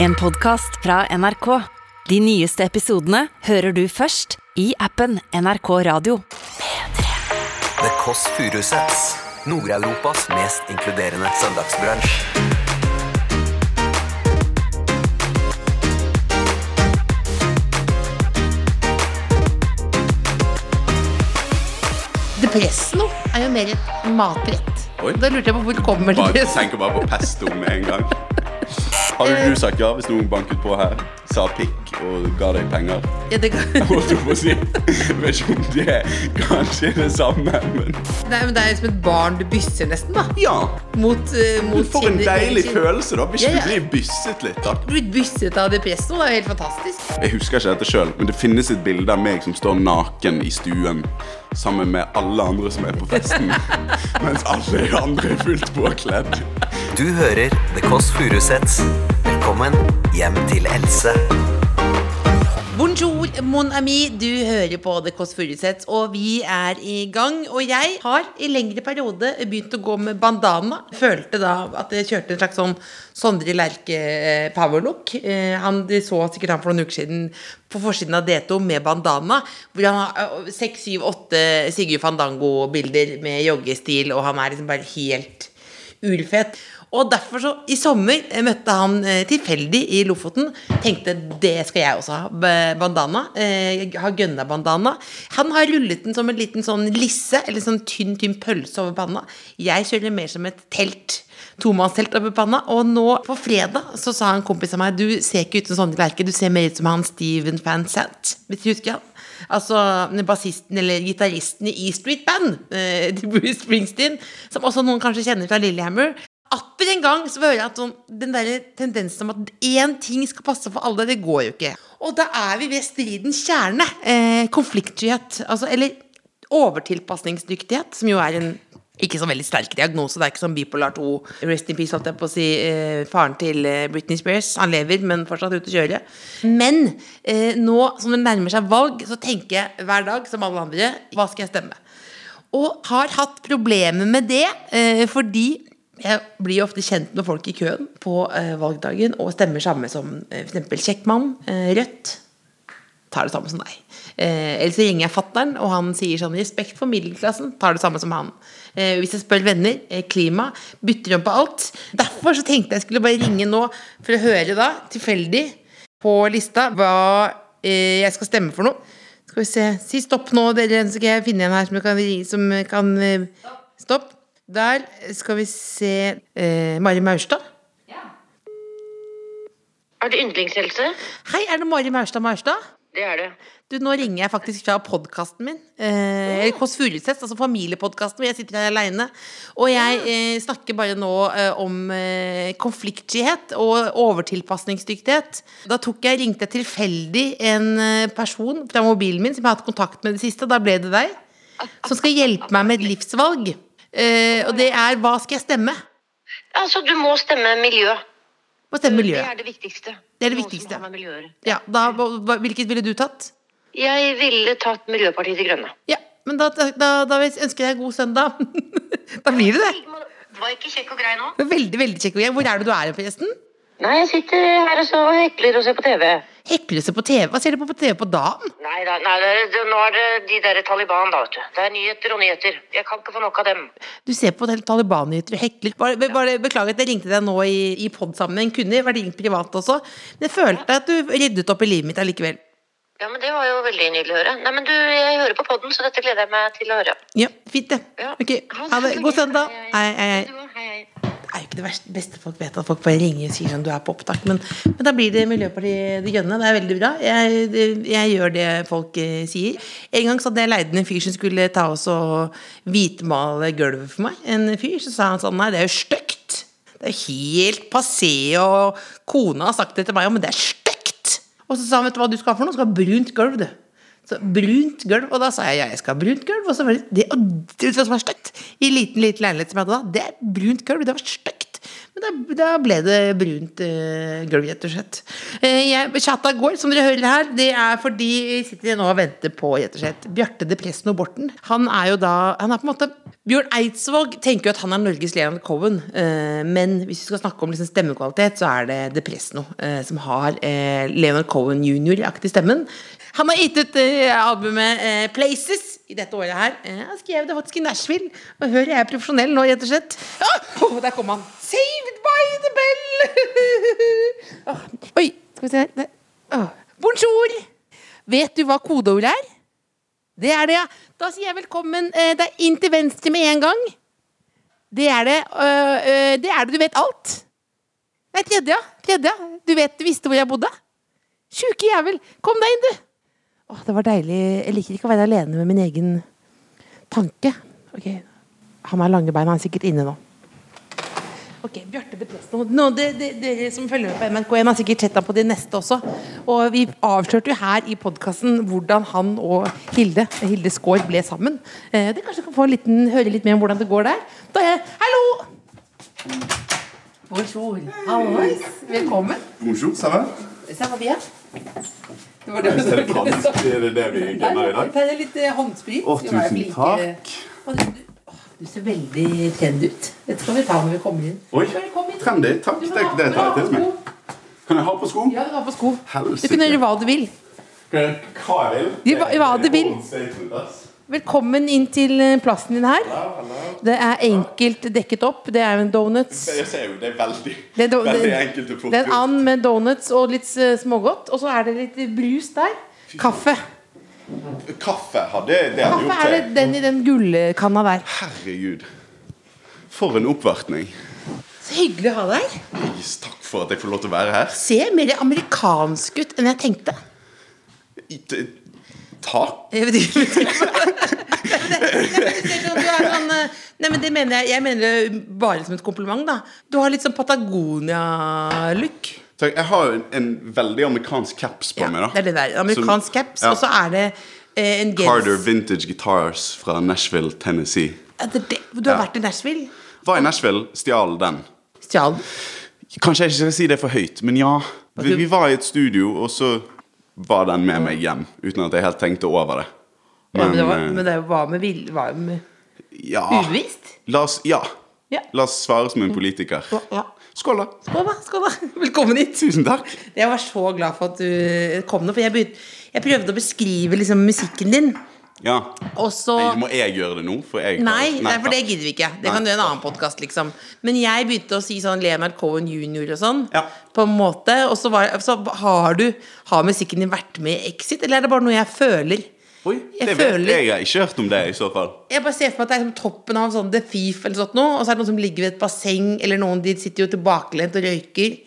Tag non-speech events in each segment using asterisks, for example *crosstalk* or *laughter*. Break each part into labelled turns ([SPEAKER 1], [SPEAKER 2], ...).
[SPEAKER 1] En podcast fra NRK. De nyeste episodene hører du først i appen NRK Radio.
[SPEAKER 2] The Kåss Furuseths. Nord-Europas mest inkluderende søndagsbransj.
[SPEAKER 3] Depresso er jo mer et matrett.
[SPEAKER 4] Oi.
[SPEAKER 3] Da lurte jeg på hvor kommer
[SPEAKER 4] Bare,
[SPEAKER 3] det
[SPEAKER 4] jeg tenker bare på pesto med en gang.
[SPEAKER 3] Eh.
[SPEAKER 4] Hadde du sagt ja hvis noen banket på her, sa pikk og ga deg penger?
[SPEAKER 3] ja, det, kan- *laughs*
[SPEAKER 4] Holdt jeg på å si. Jeg vet ikke om det kanskje er det samme, men
[SPEAKER 3] Nei, men det er jo som et barn du bysser nesten, da.
[SPEAKER 4] Ja!
[SPEAKER 3] Mot, eh, mot
[SPEAKER 4] For en
[SPEAKER 3] sine-
[SPEAKER 4] deilig
[SPEAKER 3] sine-
[SPEAKER 4] følelse, da. Hvis
[SPEAKER 3] Ja,
[SPEAKER 4] du
[SPEAKER 3] ja.
[SPEAKER 4] blir bysset litt, da.
[SPEAKER 3] Blitt bysset av depresso det er jo helt fantastisk.
[SPEAKER 4] Jeg husker ikke dette sjøl, men det finnes et bilde av meg som står naken i stuen sammen med alle andre som er på festen, *laughs* mens alle de andre er fullt påkledd.
[SPEAKER 2] Du hører The Kåss Furuseths. Velkommen hjem til Else.
[SPEAKER 3] Bonjour, mon ami. Du hører på The Kåss Furuseth, og vi er i gang. Og jeg har i lengre periode begynt å gå med bandana. Følte da at jeg kjørte en slags sånn Sondre eh, Lerche-powerlook. Eh, Han de så sikkert han for noen uker siden på forsiden av D2 med bandana. Hvor han har eh, seks, syv, åtte Sigurd Fandango-bilder med joggestil, og han er liksom bare helt urfett. Og derfor så, i sommer eh, møtte han eh, tilfeldig i Lofoten. Tenkte det skal jeg også ha. b- Bandana. Eh, har gønna bandana. Han har rullet den som en liten sånn lisse, eller sånn tynn, tynn pølse over panna. Jeg kjører mer som et telt. Tomannstelt over panna. Og nå på fredag så sa en kompis av meg du ser ikke ut som Sondre Lerche, du ser mer ut som han Steven Van Sant. Hvis du husker han. Altså bassisten eller gitaristen i E Street Band, eh, *laughs* til Bruce Springsteen, som også noen kanskje kjenner fra Lillehammer. Atter en gang så hører jeg at sånn, den der tendensen om at én ting skal passe for alle, det går jo ikke. Og da er vi ved stridens kjerne. Eh, konfliktskyhet. Altså, eller overtilpasningsdyktighet, som jo er en ikke så veldig sterk diagnose. Det er ikke som bipolar 2. Rest in peace, holdt jeg på å si. Eh, faren til eh, Britney Spears. Han lever, men fortsatt ute å kjøre. Men eh, nå som det nærmer seg valg, så tenker jeg hver dag, som alle andre, hva skal jeg stemme? Og har hatt problemer med det, eh, fordi jeg blir jo ofte kjent med folk i køen på eh, valgdagen og stemmer samme som eh, for eksempel kjekk mann, eh, Rødt, tar det samme som deg. Eh, eller så ringer jeg fattern, og han sier sånn Respekt for middelklassen. Tar det samme som han. Eh, hvis jeg spør venner, eh, klima, bytter om på alt. Derfor så tenkte jeg skulle bare ringe nå for å høre, da, tilfeldig, på lista hva eh, jeg skal stemme for noe. Skal vi se. Si stopp nå, dere, så skal jeg finne en her som kan, ri- som kan eh, Stopp. Der skal vi se eh, Mari Maurstad.
[SPEAKER 5] Er det yndlingshelse?
[SPEAKER 3] Hei, er det Mari Maurstad Maurstad?
[SPEAKER 5] Det er det.
[SPEAKER 3] Du, nå ringer jeg faktisk fra podkasten min. Eh, Kåss Furuseth, altså familiepodkasten hvor jeg sitter her aleine. Og jeg eh, snakker bare nå eh, om eh, konfliktskyhet og overtilpasningsdyktighet. Da tok jeg, ringte jeg tilfeldig en eh, person fra mobilen min som jeg har hatt kontakt med i det siste, og da ble det deg. Som skal hjelpe meg med et livsvalg. Eh, og det er hva skal jeg stemme?
[SPEAKER 5] Altså, du må stemme miljø.
[SPEAKER 3] Hva stemmer
[SPEAKER 5] Det
[SPEAKER 3] miljøet?
[SPEAKER 5] er det viktigste.
[SPEAKER 3] Det er det
[SPEAKER 5] Noe
[SPEAKER 3] viktigste.
[SPEAKER 5] som har med miljø å gjøre.
[SPEAKER 3] Ja, da, hva- hva- hvilket ville du tatt?
[SPEAKER 5] Jeg ville tatt Miljøpartiet De Grønne.
[SPEAKER 3] Ja, men da, da, da, da ønsker jeg deg god søndag. *laughs* da blir det det.
[SPEAKER 5] Var ikke kjekk og grei nå?
[SPEAKER 3] Veldig, veldig kjekk. Hvor er det du er forresten?
[SPEAKER 5] Nei, jeg sitter her og så og hekler og ser på TV.
[SPEAKER 3] Heklelse på TV. Hva ser du på på TV på dagen?
[SPEAKER 5] Nei da, nei, det- det- nå er det de der Taliban, da, vet du. Det er nyheter og nyheter. Jeg kan ikke få nok av dem.
[SPEAKER 3] Du ser på del Taliban-nyheter og hekler. Bare, be- bare Beklager at jeg ringte deg nå i, i pod-sammenheng. Kunne vært ringt privat også. Men jeg følte at du ryddet opp i livet mitt allikevel.
[SPEAKER 5] Ja, men Det var jo veldig nydelig å høre. Nei, men du, Jeg hører på podden, så dette gleder jeg meg til å høre.
[SPEAKER 3] Ja, fint det.
[SPEAKER 5] Ja.
[SPEAKER 3] Ok, ha det. God søndag.
[SPEAKER 5] Hei,
[SPEAKER 3] Hei, hei, hei.
[SPEAKER 5] Du også, hei, hei.
[SPEAKER 3] Det er jo ikke det verste, beste folk vet, at folk bare ringer og sier sånn du er på opptak. Men, men da blir det Miljøpartiet De Grønne. Det er veldig bra. Jeg, det- jeg gjør det folk eh, sier. En gang så hadde jeg leid inn en fyr som skulle ta oss og hvitmale gulvet for meg. En fyr så sa han sånn nei, det er jo stygt. Det er jo helt passé, og kona har sagt det til meg òg, men det er stygt. Og så sa han vet du hva du skal ha for noe? Du skal ha brunt gulv, du. Så brunt gulv, og da sa jeg ja, jeg skal ha brunt gulv. Og så var det det, og det, vet du hva som er stygt. I liten, liten leilighet som jeg hadde da, det er brunt gulv. Det var stygt. Men Men da, da ble det brunt uh, gulv, rett og slett. Eh, jeg, chatta går, som dere hører her, det er fordi vi sitter nå og venter på rett og slett Bjarte de Presten og Borten. Han er jo da han er på en måte, Bjørn Eidsvåg tenker jo at han er Norges Leonard Cohen, eh, men hvis vi skal snakke om liksom stemmekvalitet, så er det de Presno eh, som har eh, Leonard Cohen jr.-aktig stemmen. Han har gitt ut eh, albumet eh, Places i dette året her. Eh, Han skrev det faktisk i Nashville. Og hør, jeg er profesjonell nå, rett og slett. Ah! Åh, der kom han. Saved by the bell! *laughs* Åh, Oi, skal vi se her. Der. Åh. Bonjour! Vet du hva kodeordet er? Det er det, ja. Da sier jeg velkommen. Eh, Det er inn til venstre med en gang. Det er det. Øh, øh, Det er det. Du vet alt. Nei, tredje, ja. Tredje, ja. Du vet, du visste hvor jeg bodde. Sjuke jævel. Kom deg inn, du. Åh, det var deilig. Jeg liker ikke å være alene med min egen tanke. Ok, Han har lange bein. Han er sikkert inne nå. Ok, Bjarte de Presto. Nå, det, det, dere som følger med på NRK1, har sikkert sett ham på de neste også. Og vi avslørte jo her i podkasten hvordan han og Hilde Hilde Skaar ble sammen. Eh, det kanskje kan få en liten, høre litt mer om hvordan det går der. Da er jeg Hallo! Bonjour. Hallois. Velkommen.
[SPEAKER 4] Bonjour, ça va?
[SPEAKER 3] Se hva vi er. Det var
[SPEAKER 4] Er det fransk? Er det det vi gunner i dag?
[SPEAKER 3] Det er litt eh, håndsprit.
[SPEAKER 4] Å,
[SPEAKER 3] Vi må være
[SPEAKER 4] tusen
[SPEAKER 3] flinke.
[SPEAKER 4] takk.
[SPEAKER 3] Og Du, åh, du ser veldig trendy ut. Dette skal vi ta når vi kommer inn.
[SPEAKER 4] Oi,
[SPEAKER 3] Velkommen inn.
[SPEAKER 4] trendy. Takk.
[SPEAKER 3] Du må
[SPEAKER 4] Det,
[SPEAKER 3] ha-
[SPEAKER 4] det
[SPEAKER 3] du må
[SPEAKER 4] tar jeg
[SPEAKER 3] ha
[SPEAKER 4] til meg.
[SPEAKER 3] sko.
[SPEAKER 4] Kan jeg ha på sko?
[SPEAKER 3] Ja, du har på sko.
[SPEAKER 4] Helsike.
[SPEAKER 3] Du kan gjøre hva du vil.
[SPEAKER 4] Kan jeg hva jeg vil?
[SPEAKER 3] Ja, hva- hva du vil. Velkommen inn til eh, plassen din her. Det er enkelt dekket opp. Det er en donuts.
[SPEAKER 4] Jeg ser jo, det er veldig,
[SPEAKER 3] Det er, do
[SPEAKER 4] veldig enkelt
[SPEAKER 3] det,
[SPEAKER 4] å
[SPEAKER 3] det
[SPEAKER 4] plukke
[SPEAKER 3] er en and med donuts og litt eh, smågodt. Og så er det litt brus der. Kaffe.
[SPEAKER 4] ut. Kaffe hadde jeg- det hadde jeg
[SPEAKER 3] Kaffe er det
[SPEAKER 4] gjort. til.
[SPEAKER 3] den i den gullkanna der.
[SPEAKER 4] Herregud. For en oppvartning.
[SPEAKER 3] Så hyggelig å ha deg her.
[SPEAKER 4] Yes, Takk for at jeg får lov til å være her.
[SPEAKER 3] Ser mer amerikansk ut enn jeg tenkte.
[SPEAKER 4] I- t- Takk.
[SPEAKER 3] Jeg vet ikke Nei,
[SPEAKER 4] *laughs*
[SPEAKER 3] men det- du er sånn, eh, Nei, men det mener jeg Jeg mener det bare som et kompliment, da. Du har litt sånn Patagonia-look.
[SPEAKER 4] Takk. Jeg har jo en, en veldig amerikansk caps på
[SPEAKER 3] Ja,
[SPEAKER 4] meg. da
[SPEAKER 3] det er det der.
[SPEAKER 4] Som-
[SPEAKER 3] Amerikansk caps,
[SPEAKER 4] ja.
[SPEAKER 3] og så er det eh, en gens
[SPEAKER 4] Carter Vintage Guitars fra Nashville, Tennessee.
[SPEAKER 3] Ja, det, er det, du har
[SPEAKER 4] Ja.
[SPEAKER 3] vært i Nashville?
[SPEAKER 4] Var i Nashville, stjal den.
[SPEAKER 3] Stjal den?
[SPEAKER 4] Kanskje jeg ikke skal si det for høyt, men ja. Vi, vi var i et studio, og så var den med meg hjem. Uten at jeg helt tenkte over det.
[SPEAKER 3] Ja, Men, det var-
[SPEAKER 4] eh,
[SPEAKER 3] men det var med, vil- var med
[SPEAKER 4] ja.
[SPEAKER 3] ubevisst?
[SPEAKER 4] La oss, ja.
[SPEAKER 3] Ja.
[SPEAKER 4] La oss svare som en politiker.
[SPEAKER 3] Ja.
[SPEAKER 4] Skål, da.
[SPEAKER 3] Skål, da. Skål, da. *laughs* Velkommen hit.
[SPEAKER 4] Tusen takk.
[SPEAKER 3] Jeg var så glad for at du kom nå, for jeg, begynte, jeg prøvde å beskrive liksom musikken din,
[SPEAKER 4] Ja.
[SPEAKER 3] og så
[SPEAKER 4] Nei, må jeg gjøre det nå? For jeg
[SPEAKER 3] Nei, nei, for det
[SPEAKER 4] takk.
[SPEAKER 3] gidder vi ikke. Det
[SPEAKER 4] Nei.
[SPEAKER 3] kan du gjøre i en annen podkast, liksom. Men jeg begynte å si sånn Leonard Cohen jr. og sånn.
[SPEAKER 4] Ja.
[SPEAKER 3] På en måte. Og så, var, så har du Har musikken din vært med i Exit, eller er det bare noe jeg føler?
[SPEAKER 4] Oi,
[SPEAKER 3] Jeg
[SPEAKER 4] det vet
[SPEAKER 3] føler-
[SPEAKER 4] jeg. Jeg har ikke hørt om det, i så fall.
[SPEAKER 3] Jeg bare ser for meg at det er som toppen av en sånn The Thief eller sånt noe, og så er det noen som ligger ved et basseng, eller noen de sitter jo tilbakelent og røyker,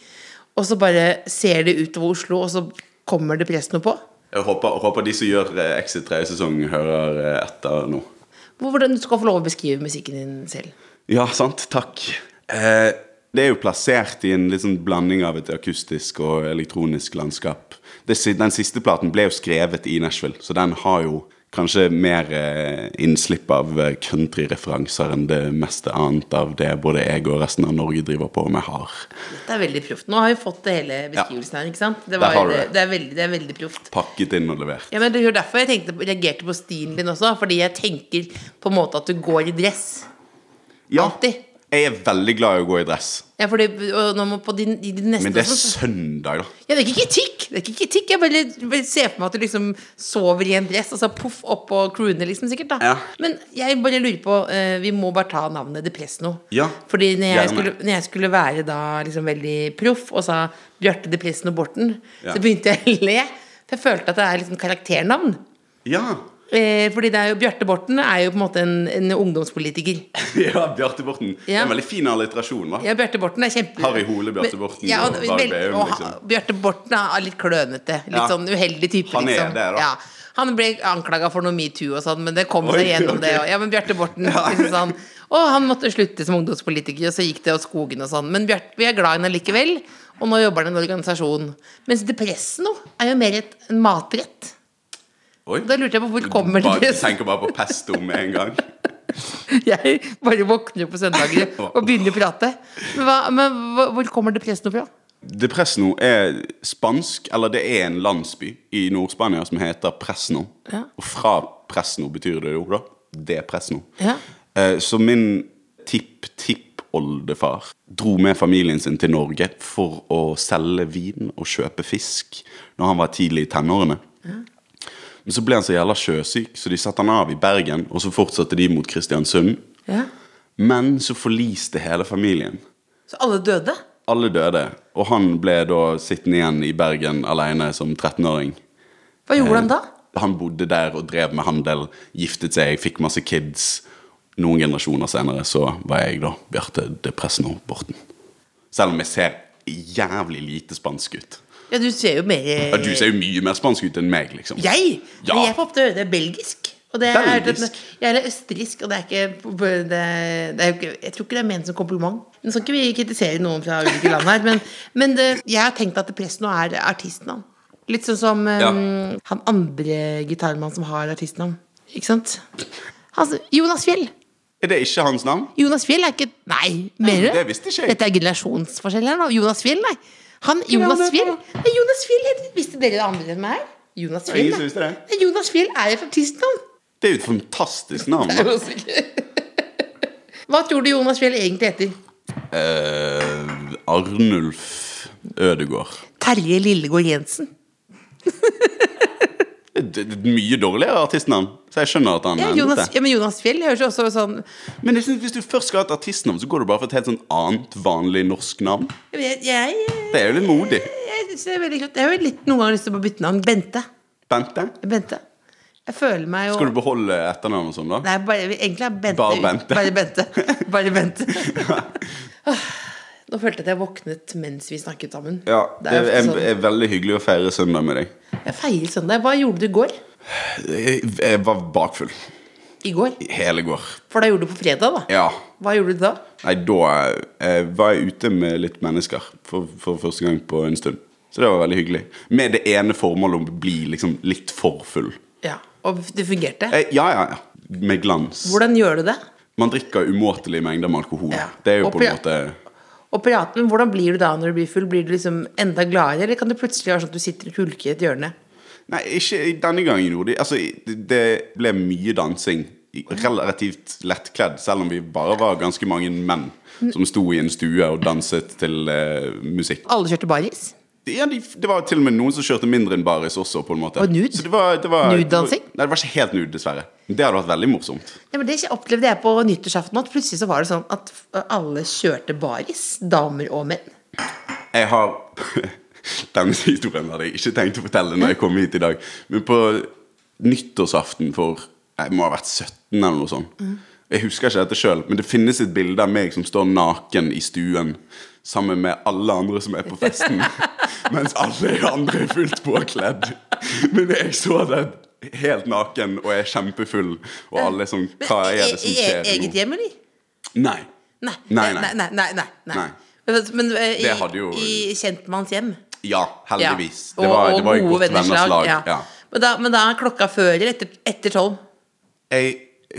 [SPEAKER 3] og så bare ser de utover Oslo, og så kommer det press noe på.
[SPEAKER 4] Jeg håper, håper de som gjør eh, Exit 3-sesong, hører eh, etter nå.
[SPEAKER 3] Hvordan du skal få lov å beskrive musikken din selv.
[SPEAKER 4] Ja, sant. Takk. Eh, det er jo plassert i en litt sånn blanding av et akustisk og elektronisk landskap. Det, si- den siste platen ble jo skrevet i Nashville, så den har jo kanskje mer eh, innslipp av eh, countryreferanser enn det meste annet av det både jeg og resten av Norge driver på med, har.
[SPEAKER 3] Dette er veldig proft. Nå har vi fått det hele beskrivelsen her, ikke sant? Det,
[SPEAKER 4] Der
[SPEAKER 3] var,
[SPEAKER 4] har du
[SPEAKER 3] det.
[SPEAKER 4] det.
[SPEAKER 3] det er veldig, det er veldig proft.
[SPEAKER 4] Pakket inn og levert.
[SPEAKER 3] Ja, men Det var derfor jeg tenkte, reagerte på stilen din også. Fordi jeg tenker på en måte at du går i dress.
[SPEAKER 4] Ja,
[SPEAKER 3] Alltid.
[SPEAKER 4] jeg er veldig glad i å gå i dress,
[SPEAKER 3] Ja, fordi, og nå må på din, i din neste
[SPEAKER 4] men
[SPEAKER 3] *laughs*
[SPEAKER 4] det er
[SPEAKER 3] også-
[SPEAKER 4] søndag, da.
[SPEAKER 3] ja, det er ikke kritikk! Det er ikke kritikk Jeg bare, bare ser for meg at du liksom sover i en dress, og så poff opp og crooner, liksom, sikkert. da
[SPEAKER 4] Ja.
[SPEAKER 3] Men jeg bare lurer på eh, Vi må bare ta navnet Depresno.
[SPEAKER 4] Ja,
[SPEAKER 3] Fordi når jeg,
[SPEAKER 4] gjerne.
[SPEAKER 3] skulle, når jeg skulle være da liksom veldig proff og sa Bjarte Depresno Borten,
[SPEAKER 4] Ja.
[SPEAKER 3] så begynte jeg å le. For jeg følte at det er liksom karakternavn.
[SPEAKER 4] Ja. *laughs*
[SPEAKER 3] Eh, fordi det er jo, Bjarte Borten er jo på en måte en, en ungdomspolitiker.
[SPEAKER 4] ja, Bjarte Borten. Det er
[SPEAKER 3] Ja.
[SPEAKER 4] En veldig fin alliterasjon, da.
[SPEAKER 3] Ja, Bjarte Borten er kjempe...
[SPEAKER 4] Harry Hole, Bjarte Borten
[SPEAKER 3] ja, og,
[SPEAKER 4] og Dag
[SPEAKER 3] vel-
[SPEAKER 4] Veum,
[SPEAKER 3] og ha-
[SPEAKER 4] liksom.
[SPEAKER 3] Bjarte Borten er litt klønete. Litt
[SPEAKER 4] Ja.
[SPEAKER 3] sånn uheldig type,
[SPEAKER 4] Han er
[SPEAKER 3] liksom.
[SPEAKER 4] det, da.
[SPEAKER 3] Ja. Han ble anklaga for noe metoo og sånn, men det kom
[SPEAKER 4] Oi,
[SPEAKER 3] seg gjennom
[SPEAKER 4] ok.
[SPEAKER 3] det. og- Ja, men Bjarte Borten liksom sånn Og han måtte slutte som ungdomspolitiker, og så gikk det åt skogen og sånn. Men Bjarte, vi er glad i henne likevel, og nå jobber han i en organisasjon. Mens Depressno er jo mer et, en matrett.
[SPEAKER 4] Oi.
[SPEAKER 3] Da lurte jeg på hvor kommer
[SPEAKER 4] Bare-
[SPEAKER 3] Depressno
[SPEAKER 4] tenker bare på pesto med en gang.
[SPEAKER 3] *laughs* Jeg bare våkner opp på søndager og begynner å prate. Men, hva, men hva- hvor kommer depressen fra?
[SPEAKER 4] De Presno er spansk, eller det er en landsby i Nord-Spania som heter Presno.
[SPEAKER 3] Ja.
[SPEAKER 4] Og fra Presno betyr det jo da det Presno.
[SPEAKER 3] Ja.
[SPEAKER 4] Eh, Så min tipp-tippoldefar dro med familien sin til Norge for å selge vin og kjøpe fisk når han var tidlig i tenårene. Men så ble han så jævla sjøsyk, så de satte han av i Bergen, og så fortsatte de mot Kristiansund.
[SPEAKER 3] Ja.
[SPEAKER 4] Men så forliste hele familien.
[SPEAKER 3] Så alle døde?
[SPEAKER 4] Alle døde, og han ble da sittende igjen i Bergen alene som 13-åring.
[SPEAKER 3] Hva gjorde han da?
[SPEAKER 4] Han bodde der og drev med handel, giftet seg, fikk masse kids. Noen generasjoner senere så var jeg da Bjarte de Presno Borten. Selv om jeg ser jævlig lite spansk ut.
[SPEAKER 3] Ja, du ser jo mer
[SPEAKER 4] Ja, Du ser jo mye mer spansk ut enn meg, liksom.
[SPEAKER 3] Jeg?
[SPEAKER 4] Ja.
[SPEAKER 3] Men jeg får ofte høre det er belgisk. Og det er,
[SPEAKER 4] Belgisk?
[SPEAKER 3] Jeg er østerriksk, og det er ikke, det, det er, jo ikke- Jeg tror ikke det er ment som kompliment. Nå skal ikke vi kritisere noen fra ulike land her, men, men det, jeg har tenkt at presten nå er artistnavn. Litt sånn som eh,
[SPEAKER 4] Ja.
[SPEAKER 3] han andre gitarmannen som har artistnavn. Ikke sant? Han, Jonas Fjell.
[SPEAKER 4] Er det ikke hans navn?
[SPEAKER 3] Jonas Fjell er ikke Nei, mener du?
[SPEAKER 4] det visste ikke jeg.
[SPEAKER 3] Dette er generasjonsforskjell her nå. Jonas Fjell, nei. Han, Jonas Fjell Nei, Jonas Fjell heter Visste dere det andre enn meg her? Jonas Fjell,
[SPEAKER 4] Ingen som
[SPEAKER 3] nei.
[SPEAKER 4] visste det.
[SPEAKER 3] Nei, Jonas Fjell er et artistnavn.
[SPEAKER 4] Det er jo et fantastisk navn.
[SPEAKER 3] Jeg er også ikke- *laughs* Hva tror du Jonas Fjell egentlig heter?
[SPEAKER 4] Eh, Arnulf Ødegård.
[SPEAKER 3] Terje Lillegård Jensen.
[SPEAKER 4] Det er et mye dårligere artistnavn, så jeg skjønner at han
[SPEAKER 3] Ja,
[SPEAKER 4] endte
[SPEAKER 3] Jonas,
[SPEAKER 4] det.
[SPEAKER 3] ja, men Jonas Fjell høres jo også sånn
[SPEAKER 4] Men jeg synes, hvis du først skal ha et artistnavn, så går du bare for et helt sånn annet vanlig norsk navn.
[SPEAKER 3] Ja, men Jeg, jeg,
[SPEAKER 4] Det er jo litt modig.
[SPEAKER 3] jeg synes det er veldig flott. Jeg har jo litt noen ganger lyst til å bytte navn. Bente.
[SPEAKER 4] Bente?
[SPEAKER 3] Bente. Jeg føler meg jo
[SPEAKER 4] Skal du beholde etternavn og sånn, da?
[SPEAKER 3] Nei, bare, egentlig er Bente
[SPEAKER 4] Bare Bente.
[SPEAKER 3] Bare Bente. Bare Bente. Åh, Nå følte jeg at jeg våknet mens vi snakket sammen.
[SPEAKER 4] *laughs* Ja,
[SPEAKER 3] det er,
[SPEAKER 4] er,
[SPEAKER 3] ofte sånn.
[SPEAKER 4] er veldig hyggelig å feire søndag med deg.
[SPEAKER 3] Jeg feiret søndag. Hva gjorde du i går?
[SPEAKER 4] Jeg, jeg var bakfull
[SPEAKER 3] I går?
[SPEAKER 4] hele går.
[SPEAKER 3] For da gjorde du på fredag, da.
[SPEAKER 4] Ja.
[SPEAKER 3] Hva gjorde du da?
[SPEAKER 4] Nei, da eh, var jeg ute med litt mennesker for, for første gang på en stund. Så det var veldig hyggelig. Med det ene formålet om å bli liksom litt for full.
[SPEAKER 3] Ja, Og det fungerte?
[SPEAKER 4] Eh, ja, ja, ja. Med glans.
[SPEAKER 3] Hvordan gjør du det?
[SPEAKER 4] Man drikker umåtelige mengder med alkohol.
[SPEAKER 3] Ja.
[SPEAKER 4] Det er jo
[SPEAKER 3] Og
[SPEAKER 4] på en
[SPEAKER 3] pre-
[SPEAKER 4] måte
[SPEAKER 3] Og praten, Hvordan blir du da når du blir full? Blir du liksom enda gladere, eller kan det plutselig være sånn at du sitter og hulker i et hjørne?
[SPEAKER 4] Nei, ikke i denne gangen gjorde de Altså, i- det ble mye dansing. i- Relativt lettkledd, selv om vi bare var ganske mange menn som sto i en stue og danset til eh, musikk.
[SPEAKER 3] Alle kjørte baris?
[SPEAKER 4] Ja, de, det var til og med noen som kjørte mindre enn baris også, på en måte.
[SPEAKER 3] Og nude?
[SPEAKER 4] Så det var, det var,
[SPEAKER 3] Nude-dansing?
[SPEAKER 4] det var- Nei, det var ikke helt nude, dessverre. Men Det hadde vært veldig morsomt.
[SPEAKER 3] Ja, men Det opplevde jeg på nyttårsaften. At plutselig så var det sånn at alle kjørte baris. Damer og menn.
[SPEAKER 4] Jeg har *laughs* Denne historien hadde jeg ikke tenkt å fortelle når jeg kom hit i dag. Men på nyttårsaften for Jeg må ha vært 17 eller noe sånt. Jeg husker ikke dette sjøl, men det finnes et bilde av meg som står naken i stuen sammen med alle andre som er på festen, *laughs* mens alle de andre er fullt påkledd. Men jeg så det helt naken og er kjempefull, og alle er sånn Hva er det som
[SPEAKER 3] E- e-
[SPEAKER 4] skjer?
[SPEAKER 3] Eget
[SPEAKER 4] nå?»
[SPEAKER 3] hjem, eller?
[SPEAKER 4] Nei.
[SPEAKER 3] Nei.
[SPEAKER 4] Nei,
[SPEAKER 3] nei,
[SPEAKER 4] nei.
[SPEAKER 3] nei, nei, nei, nei.
[SPEAKER 4] Nei.
[SPEAKER 3] Men, men eh, i,
[SPEAKER 4] Det hadde jo-
[SPEAKER 3] i kjentmanns hjem.
[SPEAKER 4] Ja, heldigvis.
[SPEAKER 3] Ja.
[SPEAKER 4] Det
[SPEAKER 3] Og-
[SPEAKER 4] var,
[SPEAKER 3] og
[SPEAKER 4] det var i
[SPEAKER 3] gode
[SPEAKER 4] godt
[SPEAKER 3] venners
[SPEAKER 4] venners lag.
[SPEAKER 3] ja.
[SPEAKER 4] Ja.
[SPEAKER 3] Men, da, men da er klokka før eller etter, etter tolv?
[SPEAKER 4] Jeg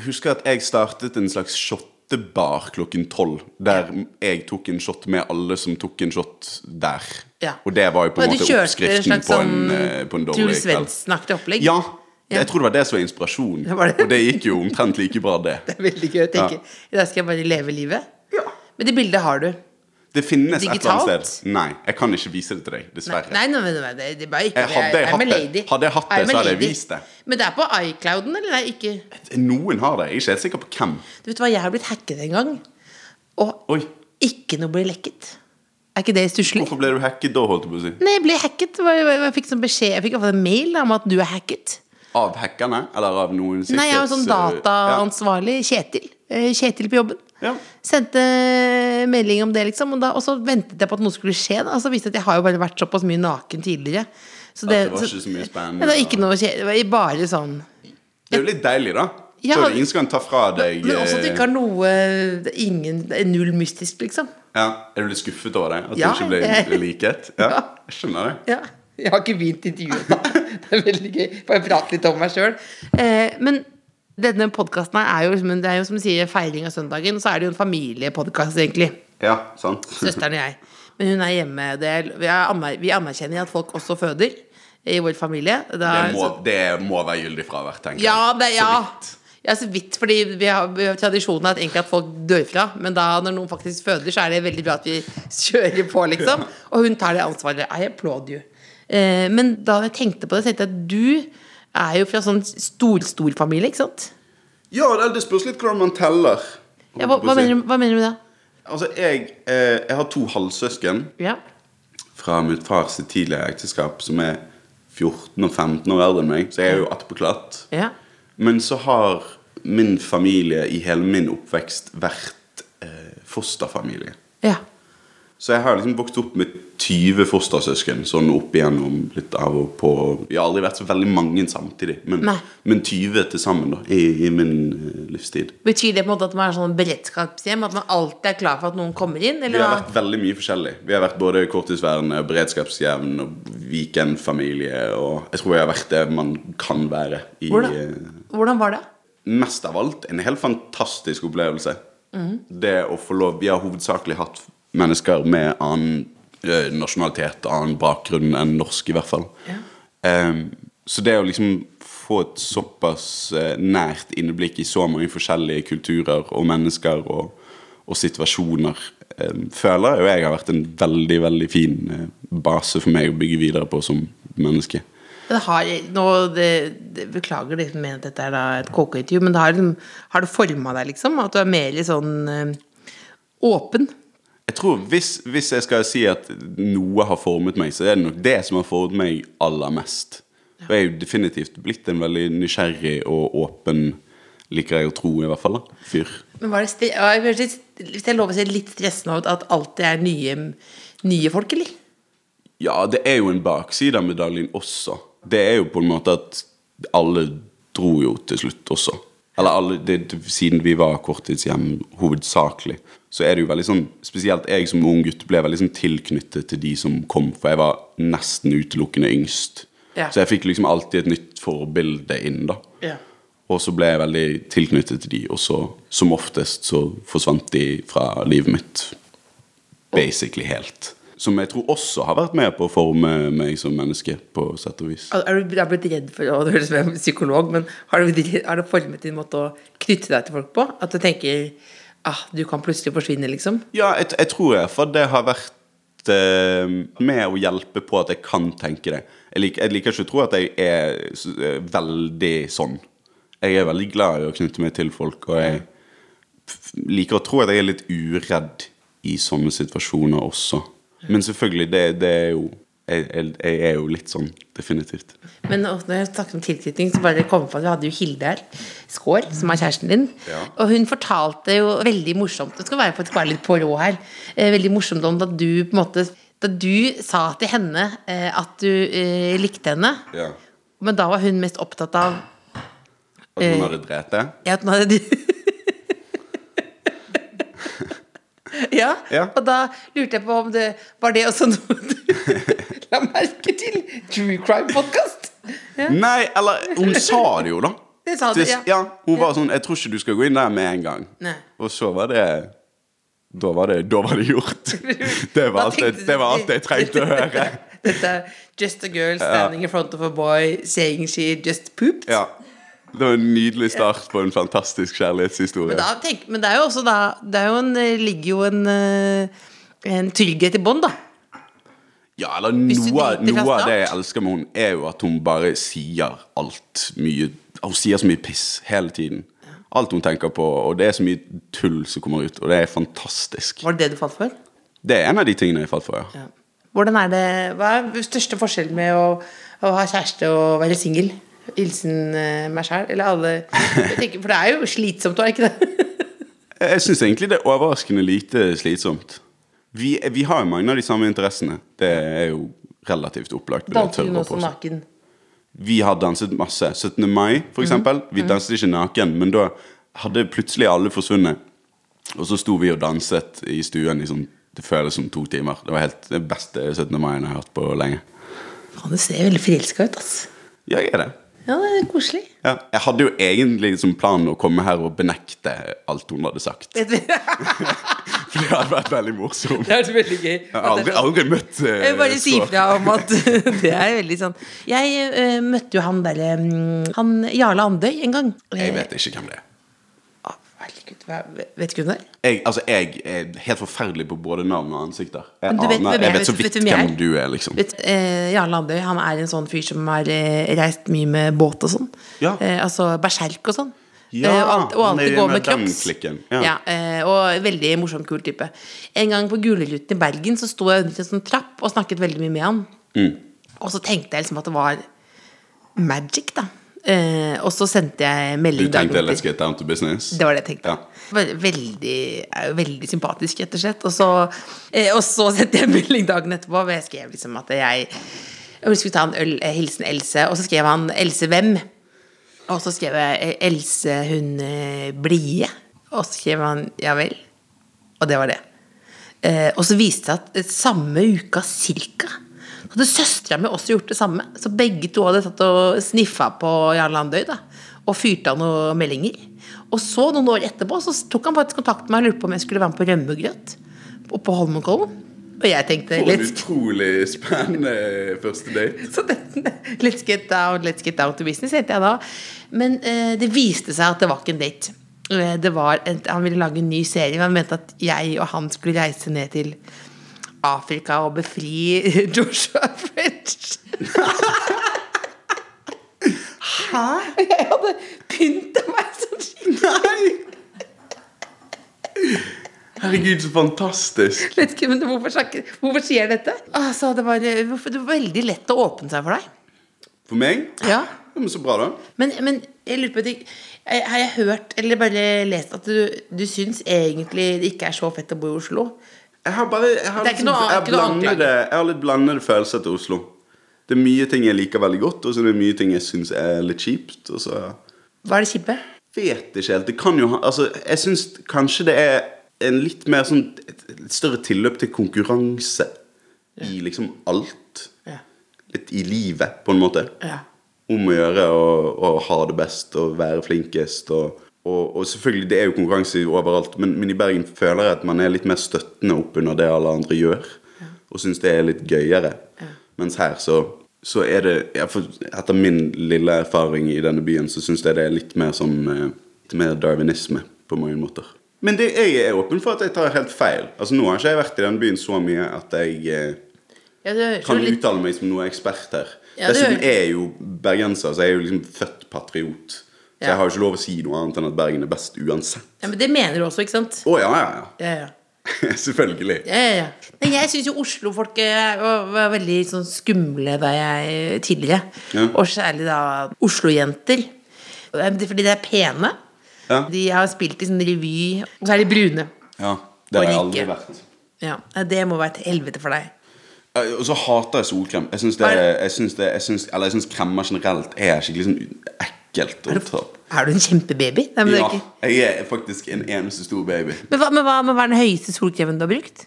[SPEAKER 4] husker at jeg startet en slags shottebar klokken tolv. Der jeg tok en shot med alle som tok en shot der.
[SPEAKER 3] Ja.
[SPEAKER 4] Og det var jo på en
[SPEAKER 3] Og du
[SPEAKER 4] måte
[SPEAKER 3] kjørte en
[SPEAKER 4] oppskriften
[SPEAKER 3] slags
[SPEAKER 4] på en,
[SPEAKER 3] sånn
[SPEAKER 4] eh, på en dårlig
[SPEAKER 3] Truls
[SPEAKER 4] kveld.
[SPEAKER 3] Svendsen-aktig opplegg?
[SPEAKER 4] Ja,
[SPEAKER 3] Ja.
[SPEAKER 4] jeg tror det var det som var inspirasjonen.
[SPEAKER 3] Det var det.
[SPEAKER 4] Og det gikk jo omtrent like bra, det.
[SPEAKER 3] *laughs* Det er veldig gøy å tenke. I dag skal jeg bare leve livet.
[SPEAKER 4] Ja.
[SPEAKER 3] Men det bildet har du.
[SPEAKER 4] Det finnes et eller
[SPEAKER 3] Digitalt?
[SPEAKER 4] annet sted. Nei, jeg kan ikke vise det til deg,
[SPEAKER 3] Nei,
[SPEAKER 4] dessverre.
[SPEAKER 3] nei, nei, nei, nei det, det er bare ikke
[SPEAKER 4] Jeg hadde jeg
[SPEAKER 3] I'm a
[SPEAKER 4] hatt det.
[SPEAKER 3] lady.
[SPEAKER 4] Hadde jeg hatt det,
[SPEAKER 3] I'm a
[SPEAKER 4] så hadde jeg
[SPEAKER 3] lady.
[SPEAKER 4] vist det.
[SPEAKER 3] Men det er på iClouden, eller? Nei, ikke
[SPEAKER 4] Noen har det. Jeg er ikke helt sikker på hvem.
[SPEAKER 3] Du vet hva, jeg har blitt hacket en gang. Og
[SPEAKER 4] Oi,
[SPEAKER 3] ikke noe ble lekket. Er ikke det stusslig?
[SPEAKER 4] hvorfor ble du hacket da, holdt jeg på å si?
[SPEAKER 3] Nei, jeg ble hacket. Hva- hva- hva- Jeg fikk sånn beskjed Jeg fikk i hvert fall en mail da, om at du er hacket.
[SPEAKER 4] Av hackerne? Eller av noen sikkerhets...
[SPEAKER 3] Nei, jeg var sånn
[SPEAKER 4] eh,
[SPEAKER 3] dataansvarlig. Kjetil. Eh, Kjetil på jobben.
[SPEAKER 4] Ja.
[SPEAKER 3] Sendte melding om det, liksom. Og, da, og så ventet jeg på at noe skulle skje. Da. Og så viste det at jeg har jo bare vært såpass mye naken tidligere. Så
[SPEAKER 4] det var ikke så mye spennende,
[SPEAKER 3] Ja, det var ikke noe kje- det var bare sånn
[SPEAKER 4] Det er jo litt deilig, da.
[SPEAKER 3] Ja.
[SPEAKER 4] så ingen skal ta fra deg
[SPEAKER 3] Men også at du
[SPEAKER 4] eh,
[SPEAKER 3] ikke har noe det er Ingen det er Null mystisk, liksom.
[SPEAKER 4] ja. Er du litt skuffet over det? At
[SPEAKER 3] Ja,
[SPEAKER 4] du ikke
[SPEAKER 3] jeg-
[SPEAKER 4] ble liket? Ja,
[SPEAKER 3] Ja.
[SPEAKER 4] jeg skjønner det.
[SPEAKER 3] Ja. Jeg har ikke begynt intervjuet, da. Det er veldig gøy. Bare prate litt om meg sjøl. Eh, men Denne podkasten er jo, liksom- det er jo som du sier, feiring av søndagen, og så er det jo en familiepodkast, egentlig.
[SPEAKER 4] Ja,
[SPEAKER 3] *laughs*
[SPEAKER 4] sant.
[SPEAKER 3] Søsteren og jeg. Men hun er hjemme. Det er, vi, er, aner- vi anerkjenner at folk også føder i vår familie. Da-
[SPEAKER 4] *laughs* Det må, det må være gyldig fravær,
[SPEAKER 3] altså-
[SPEAKER 4] tenker
[SPEAKER 3] Ja, det,
[SPEAKER 4] jeg.
[SPEAKER 3] ja.
[SPEAKER 4] Så vidt.
[SPEAKER 3] ja, så vidt, fordi vi har, vi har tradisjonen at egentlig at folk dør fra, men da når noen faktisk føder, så er det veldig bra at vi *laughs* kjører på, liksom. Og hun tar det ansvaret. I applaud you. Eh, men da jeg tenkte på det, så tenkte jeg at du er jo fra sånn stor-stor familie, ikke sant?
[SPEAKER 4] Ja, det, det spørs litt hvordan man teller.
[SPEAKER 3] Ja, hva, hva, mener, du- hva mener du med det?
[SPEAKER 4] Altså, jeg, eh, jeg har to halvsøsken
[SPEAKER 3] Ja.
[SPEAKER 4] fra min fars tidligere ekteskap som er 14 og 15 år eldre enn meg, så jeg er jo attpåklatt.
[SPEAKER 3] ja.
[SPEAKER 4] Men så har min familie i hele min oppvekst vært eh, fosterfamilie.
[SPEAKER 3] Ja.
[SPEAKER 4] Så jeg har liksom vokst opp med 20 fostersøsken sånn opp igjennom litt av og på. Vi har aldri vært så veldig mange samtidig, men,
[SPEAKER 3] Nei.
[SPEAKER 4] men 20 til sammen da, i, i min eh, livstid.
[SPEAKER 3] Betyr det på en måte at man er sånn beredskapshjem? At man alltid er klar for at noen kommer inn?
[SPEAKER 4] Vi
[SPEAKER 3] Eller?
[SPEAKER 4] har
[SPEAKER 3] hva?
[SPEAKER 4] vært veldig mye forskjellig. Vi har vært både korttidsværende, beredskapsjevn og weekendfamilie. Og jeg tror jeg har vært det man kan være i eh,
[SPEAKER 3] Hvordan, hvordan var det?
[SPEAKER 4] mest av alt en helt fantastisk opplevelse. Det å få lov Vi har hovedsakelig hatt mennesker med annen eh, nasjonalitet, annen bakgrunn enn norsk, i hvert fall. Ehm, så det å liksom få et såpass eh, nært innblikk i så mange forskjellige kulturer og mennesker og, og situasjoner, ehm, føler jeg jo jeg har vært en veldig, veldig fin eh, base for meg å bygge videre på som menneske.
[SPEAKER 3] Det har, nå, det, det, beklager liksom med at dette er da et KK-intervju, men det har, liksom- har det forma deg, liksom? At du er mer litt sånn eh, åpen?
[SPEAKER 4] Jeg tror hvis, hvis jeg skal si at noe har formet meg, så er det nok det som har formet meg aller mest. For jeg er jo definitivt blitt en veldig nysgjerrig og åpen, liker jeg å tro i hvert fall, da, fyr.
[SPEAKER 3] Men var det stre- ja, jeg høres litt- Hvis jeg lover å si litt stressende ut at alltid er nye, nye folk, eller?
[SPEAKER 4] Ja, det er jo en bakside av medaljen også. Det er jo på en måte at alle dro jo til slutt også. Eller alle, det, det- siden vi var korttidshjem hovedsakelig, så er det jo veldig sånn Spesielt jeg som ung gutt ble veldig sånn tilknyttet til de som kom, for jeg var nesten utelukkende yngst.
[SPEAKER 3] Ja.
[SPEAKER 4] Så jeg fikk liksom alltid et nytt forbilde inn, da.
[SPEAKER 3] Ja.
[SPEAKER 4] Og så ble jeg veldig tilknyttet til de, og så som oftest så forsvant de fra livet mitt basically helt. Som jeg tror også har vært med på å forme meg som menneske, på sett og vis.
[SPEAKER 3] Er du er du blitt redd for å Det høres ut som jeg er psykolog, men har du, blitt- har det formet din måte å knytte deg til folk på? At du tenker ah, du kan plutselig forsvinne, liksom?
[SPEAKER 4] Ja, jeg, jeg tror jeg, for det har vært eh, med å hjelpe på at jeg kan tenke det. Jeg, lik, jeg liker ikke å tro at jeg er s- eh, veldig sånn. Jeg er veldig glad i å knytte meg til folk, og jeg f- liker å tro at jeg er litt uredd i sånne situasjoner også. Men selvfølgelig, det, det er jo jeg, jeg, jeg er jo litt sånn, definitivt.
[SPEAKER 3] Men også når jeg snakker om tilknytning, så bare kom jeg på at vi hadde jo Hilde her, Skår, som er kjæresten din.
[SPEAKER 4] Ja.
[SPEAKER 3] Og hun fortalte jo veldig morsomt Det skal være faktisk være litt på rå her. Eh, veldig morsomt om da du på en måte Da du sa til henne eh, at du eh, likte henne,
[SPEAKER 4] Ja.
[SPEAKER 3] men da var hun mest opptatt av
[SPEAKER 4] At hun hadde drept det?
[SPEAKER 3] ja, at nå hadde du *laughs* ja,
[SPEAKER 4] Ja.
[SPEAKER 3] og da lurte jeg på om det var det også noe du *laughs* la merke til. True crime-podkast.
[SPEAKER 4] Nei, eller Hun sa det jo, da.
[SPEAKER 3] *laughs* Det sa det,
[SPEAKER 4] Til-
[SPEAKER 3] ja.
[SPEAKER 4] Hun var sånn 'Jeg tror ikke du skal gå inn der med en gang'.
[SPEAKER 3] Nei.
[SPEAKER 4] Og så var det Da var det, da var det
[SPEAKER 3] *laughs*
[SPEAKER 4] gjort. Det var,
[SPEAKER 3] Da
[SPEAKER 4] alt jeg,
[SPEAKER 3] tenkte du-
[SPEAKER 4] det var alt jeg
[SPEAKER 3] *laughs*
[SPEAKER 4] trengte å høre.
[SPEAKER 3] Dette er just a girl standing in front of a boy saying she just pooped.
[SPEAKER 4] Ja. Det var en nydelig start på en fantastisk kjærlighetshistorie.
[SPEAKER 3] Men, da, tenk, men det er jo også da Det er jo en, eh, ligger jo en, eh, en trygghet i bånn, da.
[SPEAKER 4] Ja, eller
[SPEAKER 3] du
[SPEAKER 4] noe,
[SPEAKER 3] driter fra
[SPEAKER 4] noe av det jeg
[SPEAKER 3] start.
[SPEAKER 4] elsker med hun er jo at hun bare sier alt mye Hun sier så mye piss hele tiden. Alt hun tenker på, og det er så mye tull som kommer ut, og det er fantastisk.
[SPEAKER 3] Var det det du falt for?
[SPEAKER 4] Det er en av de tingene jeg falt for, ja.
[SPEAKER 3] Hvordan er det, Hva er den største forskjellen med å, å ha kjæreste og være singel? Hilsen eh, meg sjæl, eller alle jeg tenker, For det er jo slitsomt, er det ikke det?
[SPEAKER 4] Jeg syns egentlig det er overraskende lite slitsomt. Vi, vi har jo mange av de samme interessene. Det er jo relativt opplagt. vil jeg
[SPEAKER 3] Danser
[SPEAKER 4] tørre
[SPEAKER 3] hun
[SPEAKER 4] å altså.
[SPEAKER 3] også
[SPEAKER 4] påstå.
[SPEAKER 3] naken?
[SPEAKER 4] Vi har danset masse. 17. mai, for eksempel. Vi danset ikke naken, men da hadde plutselig alle forsvunnet. Og så sto vi og danset i stuen i sånn Det føles som to timer. Det var helt det beste 17. mai jeg har hørt på lenge.
[SPEAKER 3] Faen, du ser veldig forelska ut, ass.
[SPEAKER 4] Jeg er det.
[SPEAKER 3] Ja, det er koselig.
[SPEAKER 4] Ja. Jeg hadde jo egentlig som plan å komme her og benekte alt hun hadde sagt. *laughs*
[SPEAKER 3] Vet du,
[SPEAKER 4] For det hadde vært veldig morsomt.
[SPEAKER 3] det er sånn. så veldig gøy.
[SPEAKER 4] Jeg har aldri, aldri møtt eh,
[SPEAKER 3] Jeg vil bare si
[SPEAKER 4] så-
[SPEAKER 3] fra om at *laughs* det er veldig sånn Jeg eh, møtte jo han derre mm, Han Jarle Andøy en gang. Eh,
[SPEAKER 4] Jeg vet ikke hvem det er.
[SPEAKER 3] Å, herregud, hva, vet du hvem det er?
[SPEAKER 4] Jeg, altså, jeg er helt forferdelig på både navn og ansikter. Jeg,
[SPEAKER 3] Men du vet
[SPEAKER 4] aner,
[SPEAKER 3] hvem
[SPEAKER 4] jeg
[SPEAKER 3] jeg-
[SPEAKER 4] vet så
[SPEAKER 3] vet-
[SPEAKER 4] vidt
[SPEAKER 3] vet hvem jeg
[SPEAKER 4] hvem
[SPEAKER 3] er?
[SPEAKER 4] du er, liksom.
[SPEAKER 3] Vet, eh, Jarle Andøy han er en sånn fyr som har eh, reist mye med båt og sånn.
[SPEAKER 4] Ja.
[SPEAKER 3] Eh, altså berserk og sånn.
[SPEAKER 4] Ja,
[SPEAKER 3] Eh, og alt, og
[SPEAKER 4] han er
[SPEAKER 3] alltid
[SPEAKER 4] i
[SPEAKER 3] går
[SPEAKER 4] med
[SPEAKER 3] med
[SPEAKER 4] den
[SPEAKER 3] crocs.
[SPEAKER 4] klikken, ja.
[SPEAKER 3] eh, og veldig morsom, kul type. En gang på Gulruten i Bergen så sto jeg under en sånn trapp og snakket veldig mye med han.
[SPEAKER 4] Mm.
[SPEAKER 3] Og så tenkte jeg liksom at det var magic, da. Eh, og så sendte jeg
[SPEAKER 4] Du
[SPEAKER 3] melding dagen
[SPEAKER 4] tenkte
[SPEAKER 3] etter.
[SPEAKER 4] 'let's get down to business'?
[SPEAKER 3] Det var det jeg tenkte.
[SPEAKER 4] Ja.
[SPEAKER 3] Var Veldig, er jo veldig sympatisk, rett og slett. Og så, eh, og så sendte jeg melding dagen etterpå, hvor jeg skrev liksom at jeg Hun skulle ta en øl, eh, hilsen Else, og så skrev han 'Else hvem?' Og så skrev jeg eh, 'Else hun eh, blide', og så skrev han 'ja vel'. Og det var det. Eh, og så viste det seg at eh, samme uka cirka så hadde søstera mi også gjort det samme. Så begge to hadde tatt og sniffa på Jarl Andøy da, og fyrt av noen meldinger. Og så, noen år etterpå, så tok han faktisk kontakt med meg og lurte på om jeg skulle være med på rømmegrøt oppe på Holmenkollen. Og jeg tenkte
[SPEAKER 4] For en
[SPEAKER 3] let's,
[SPEAKER 4] utrolig spennende eh, første date.
[SPEAKER 3] *laughs* så det, let's get down, let's get down to business, heter jeg da. Men eh, det viste seg at det var ikke en date. Eh, Det var en, han ville lage en ny serie, men han mente at jeg og han skulle reise ned til Afrika og befri *laughs* Joshua French. Hæ? *laughs* Jeg hadde pynta meg sånn skikkelig.
[SPEAKER 4] Herregud, så fantastisk.
[SPEAKER 3] Vet ikke, men hvorfor, snakker- hvorfor sier jeg dette? Altså, det, var, det var veldig lett å åpne seg for deg.
[SPEAKER 4] For meg?
[SPEAKER 3] Ja.
[SPEAKER 4] Ja, men så bra, da.
[SPEAKER 3] Men, men jeg lurer på en ting. Jeg- Har jeg hørt, eller bare lest, at du, du syns egentlig det ikke er så fett å bo i Oslo?
[SPEAKER 4] Jeg har bare jeg har
[SPEAKER 3] Det er ikke noe
[SPEAKER 4] liksom- jeg har
[SPEAKER 3] annet- ikke noe annet,
[SPEAKER 4] blandede, jeg har litt blandede følelser til Oslo. Det er mye ting jeg liker veldig godt, og så er det mye ting jeg syns er litt kjipt. Og så
[SPEAKER 3] Hva er det kjipe?
[SPEAKER 4] vet ikke helt. Det kan jo ha Altså, jeg syns kanskje det er en litt mer sånn et litt større tilløp til konkurranse i liksom alt.
[SPEAKER 3] Ja.
[SPEAKER 4] Litt i livet, på en måte.
[SPEAKER 3] Ja.
[SPEAKER 4] Om å gjøre og, og ha det best og være flinkest og og, og selvfølgelig, det er jo konkurranse overalt, men, men i Bergen føler jeg at man er litt mer støttende oppunder det alle andre gjør, og syns det er litt gøyere. Mens her så, så er det ja, for Etter min lille erfaring i denne byen, så syns jeg det er litt mer sånn eh, Litt mer darwinisme på mange måter. Men det, jeg er åpen for at jeg tar helt feil. Altså Nå har ikke jeg vært i denne byen så mye at jeg eh,
[SPEAKER 3] Ja, det høres jo
[SPEAKER 4] kan
[SPEAKER 3] litt
[SPEAKER 4] uttale meg som noe ekspert her.
[SPEAKER 3] Ja, det
[SPEAKER 4] Dessuten
[SPEAKER 3] gjør-
[SPEAKER 4] er jeg jo bergenser, så jeg er jo liksom født patriot. Så
[SPEAKER 3] Ja.
[SPEAKER 4] jeg har jo ikke lov å si noe annet enn at Bergen er best uansett.
[SPEAKER 3] ja, Men det mener du også, ikke sant?
[SPEAKER 4] Å ja, ja, *laughs*
[SPEAKER 3] Ja, ja.
[SPEAKER 4] ja. Selvfølgelig.
[SPEAKER 3] Ja, ja, ja. Nei, jeg syns jo Oslo-folk eh, var, var veldig sånn skumle da jeg tidligere.
[SPEAKER 4] Ja.
[SPEAKER 3] Og særlig da Oslo-jenter. Og det er Fordi de er pene.
[SPEAKER 4] Ja.
[SPEAKER 3] De har spilt i sånn revy. Og så er de brune.
[SPEAKER 4] Ja, Det har jeg
[SPEAKER 3] Og
[SPEAKER 4] aldri
[SPEAKER 3] rike.
[SPEAKER 4] vært.
[SPEAKER 3] Ja, Det må være et helvete for deg.
[SPEAKER 4] Eh, Og så hater jeg solkrem. Jeg syns det,
[SPEAKER 3] Er det-
[SPEAKER 4] jeg synes det jeg synes, Eller jeg syns kremmer generelt er skikkelig sånn ekkelt å ta på.
[SPEAKER 3] Er du en kjempebaby? Nei, men, det er
[SPEAKER 4] Ja,
[SPEAKER 3] ikke...
[SPEAKER 4] jeg er faktisk en eneste stor baby.
[SPEAKER 3] men, hva, men hva men hva er den høyeste solkremen du har brukt?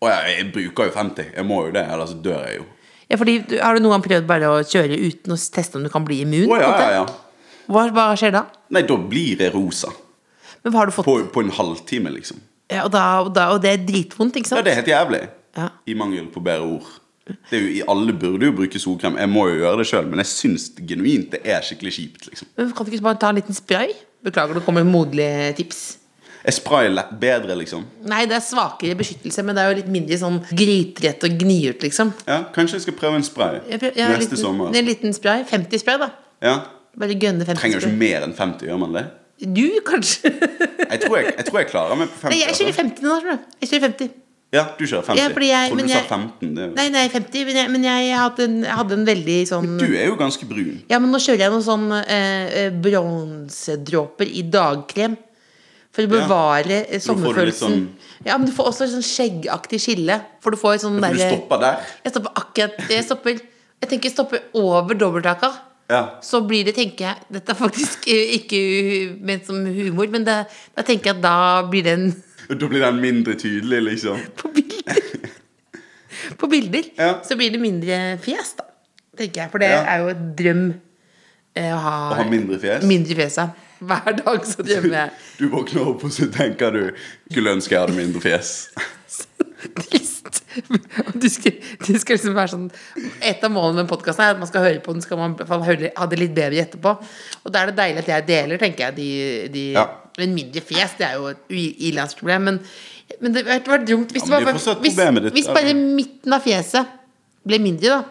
[SPEAKER 4] Og jeg, jeg bruker jo 50. Jeg må jo det, ellers dør jeg jo.
[SPEAKER 3] Ja, fordi, du- har du noen gang prøvd bare å kjøre uten å teste om du kan bli immun?
[SPEAKER 4] Å ja,
[SPEAKER 3] på en måte?
[SPEAKER 4] ja, ja.
[SPEAKER 3] Hva, hva skjer da?
[SPEAKER 4] Nei, da blir jeg rosa.
[SPEAKER 3] Men hva har du fått?
[SPEAKER 4] På, på en halvtime, liksom.
[SPEAKER 3] Ja, og, da, og, da, og det er dritvondt, ikke
[SPEAKER 4] Ja,
[SPEAKER 3] sant?
[SPEAKER 4] det er helt jævlig.
[SPEAKER 3] Ja.
[SPEAKER 4] I mangel på bedre ord. Det er jo, i- alle burde jo bruke solkrem. Jeg må jo gjøre det sjøl, men jeg syns genuint det er skikkelig kjipt. liksom.
[SPEAKER 3] Men kan du ikke bare ta en liten spray? Beklager, det kommer moderlige tips.
[SPEAKER 4] Jeg sprayer lett bedre, liksom.
[SPEAKER 3] Nei, det er svakere beskyttelse, men det er jo litt mindre sånn gryterett og gniurt, liksom.
[SPEAKER 4] Ja, Kanskje jeg skal prøve en spray
[SPEAKER 3] Jeg prøv- ja, en
[SPEAKER 4] neste
[SPEAKER 3] liten,
[SPEAKER 4] sommer. altså.
[SPEAKER 3] En liten spray. 50 spray, da.
[SPEAKER 4] Ja,
[SPEAKER 3] Bare gønne 50
[SPEAKER 4] Trenger jo ikke
[SPEAKER 3] spray.
[SPEAKER 4] mer enn 50, gjør man det?
[SPEAKER 3] Du, kanskje? *laughs*
[SPEAKER 4] Jeg tror jeg, jeg, tror jeg klarer meg på 50.
[SPEAKER 3] Nei, jeg kjører
[SPEAKER 4] altså.
[SPEAKER 3] 50 nå, tror jeg. Jeg kjører 50.
[SPEAKER 4] Ja, du kjører 50.
[SPEAKER 3] Ja, fordi jeg-
[SPEAKER 4] Trodde
[SPEAKER 3] men
[SPEAKER 4] du sa
[SPEAKER 3] jeg-
[SPEAKER 4] 15. Det er jo.
[SPEAKER 3] Nei, nei, 50, men jeg, men jeg hadde, en, jeg hadde en veldig sånn
[SPEAKER 4] Du er jo ganske brun.
[SPEAKER 3] Ja, men nå kjører jeg noen sånn eh, eh, bronsedråper i dagkrem. For å
[SPEAKER 4] Ja.
[SPEAKER 3] bevare eh,
[SPEAKER 4] Så nå får du litt sånn-
[SPEAKER 3] sommerfølelsen. Ja, men du får også et sånn skjeggaktig skille. For du får et sånn
[SPEAKER 4] For du
[SPEAKER 3] derre-
[SPEAKER 4] stopper der.
[SPEAKER 3] Jeg stopper akkurat Jeg stopper Jeg tenker jeg stopper over dobbelthaka.
[SPEAKER 4] Ja.
[SPEAKER 3] Så blir det, tenker jeg Dette er faktisk eh, ikke hu- ment som humor, men det, da tenker jeg at da blir det en
[SPEAKER 4] Og Da blir den mindre tydelig, liksom.
[SPEAKER 3] *laughs* På bilder. På bilder
[SPEAKER 4] Ja.
[SPEAKER 3] så blir det mindre fjes, da. Tenker jeg, for det
[SPEAKER 4] Ja.
[SPEAKER 3] er jo et drøm Jeg har,
[SPEAKER 4] Og har mindre fjes?
[SPEAKER 3] mindre fjes, ja. Hver dag så drømmer jeg.
[SPEAKER 4] *laughs* Du våkner opp, og så tenker du Skulle ønske jeg hadde mindre fjes.
[SPEAKER 3] *laughs* Trist. Og Du skal, du skal liksom være sånn Et av målene med podkasten er at man skal høre på den, skal man i hvert fall høre- ha det litt bedre etterpå. Og da er det deilig at jeg deler, tenker jeg. De, de,
[SPEAKER 4] Ja.
[SPEAKER 3] Men mindre fjes, det er jo et u- ilandsproblem. Men, men det hadde vært dumt hvis, det
[SPEAKER 4] Ja, men det er
[SPEAKER 3] var,
[SPEAKER 4] fortsatt
[SPEAKER 3] hvis,
[SPEAKER 4] problemet ditt,
[SPEAKER 3] hvis
[SPEAKER 4] er
[SPEAKER 3] bare
[SPEAKER 4] det-
[SPEAKER 3] midten av fjeset ble mindre, da.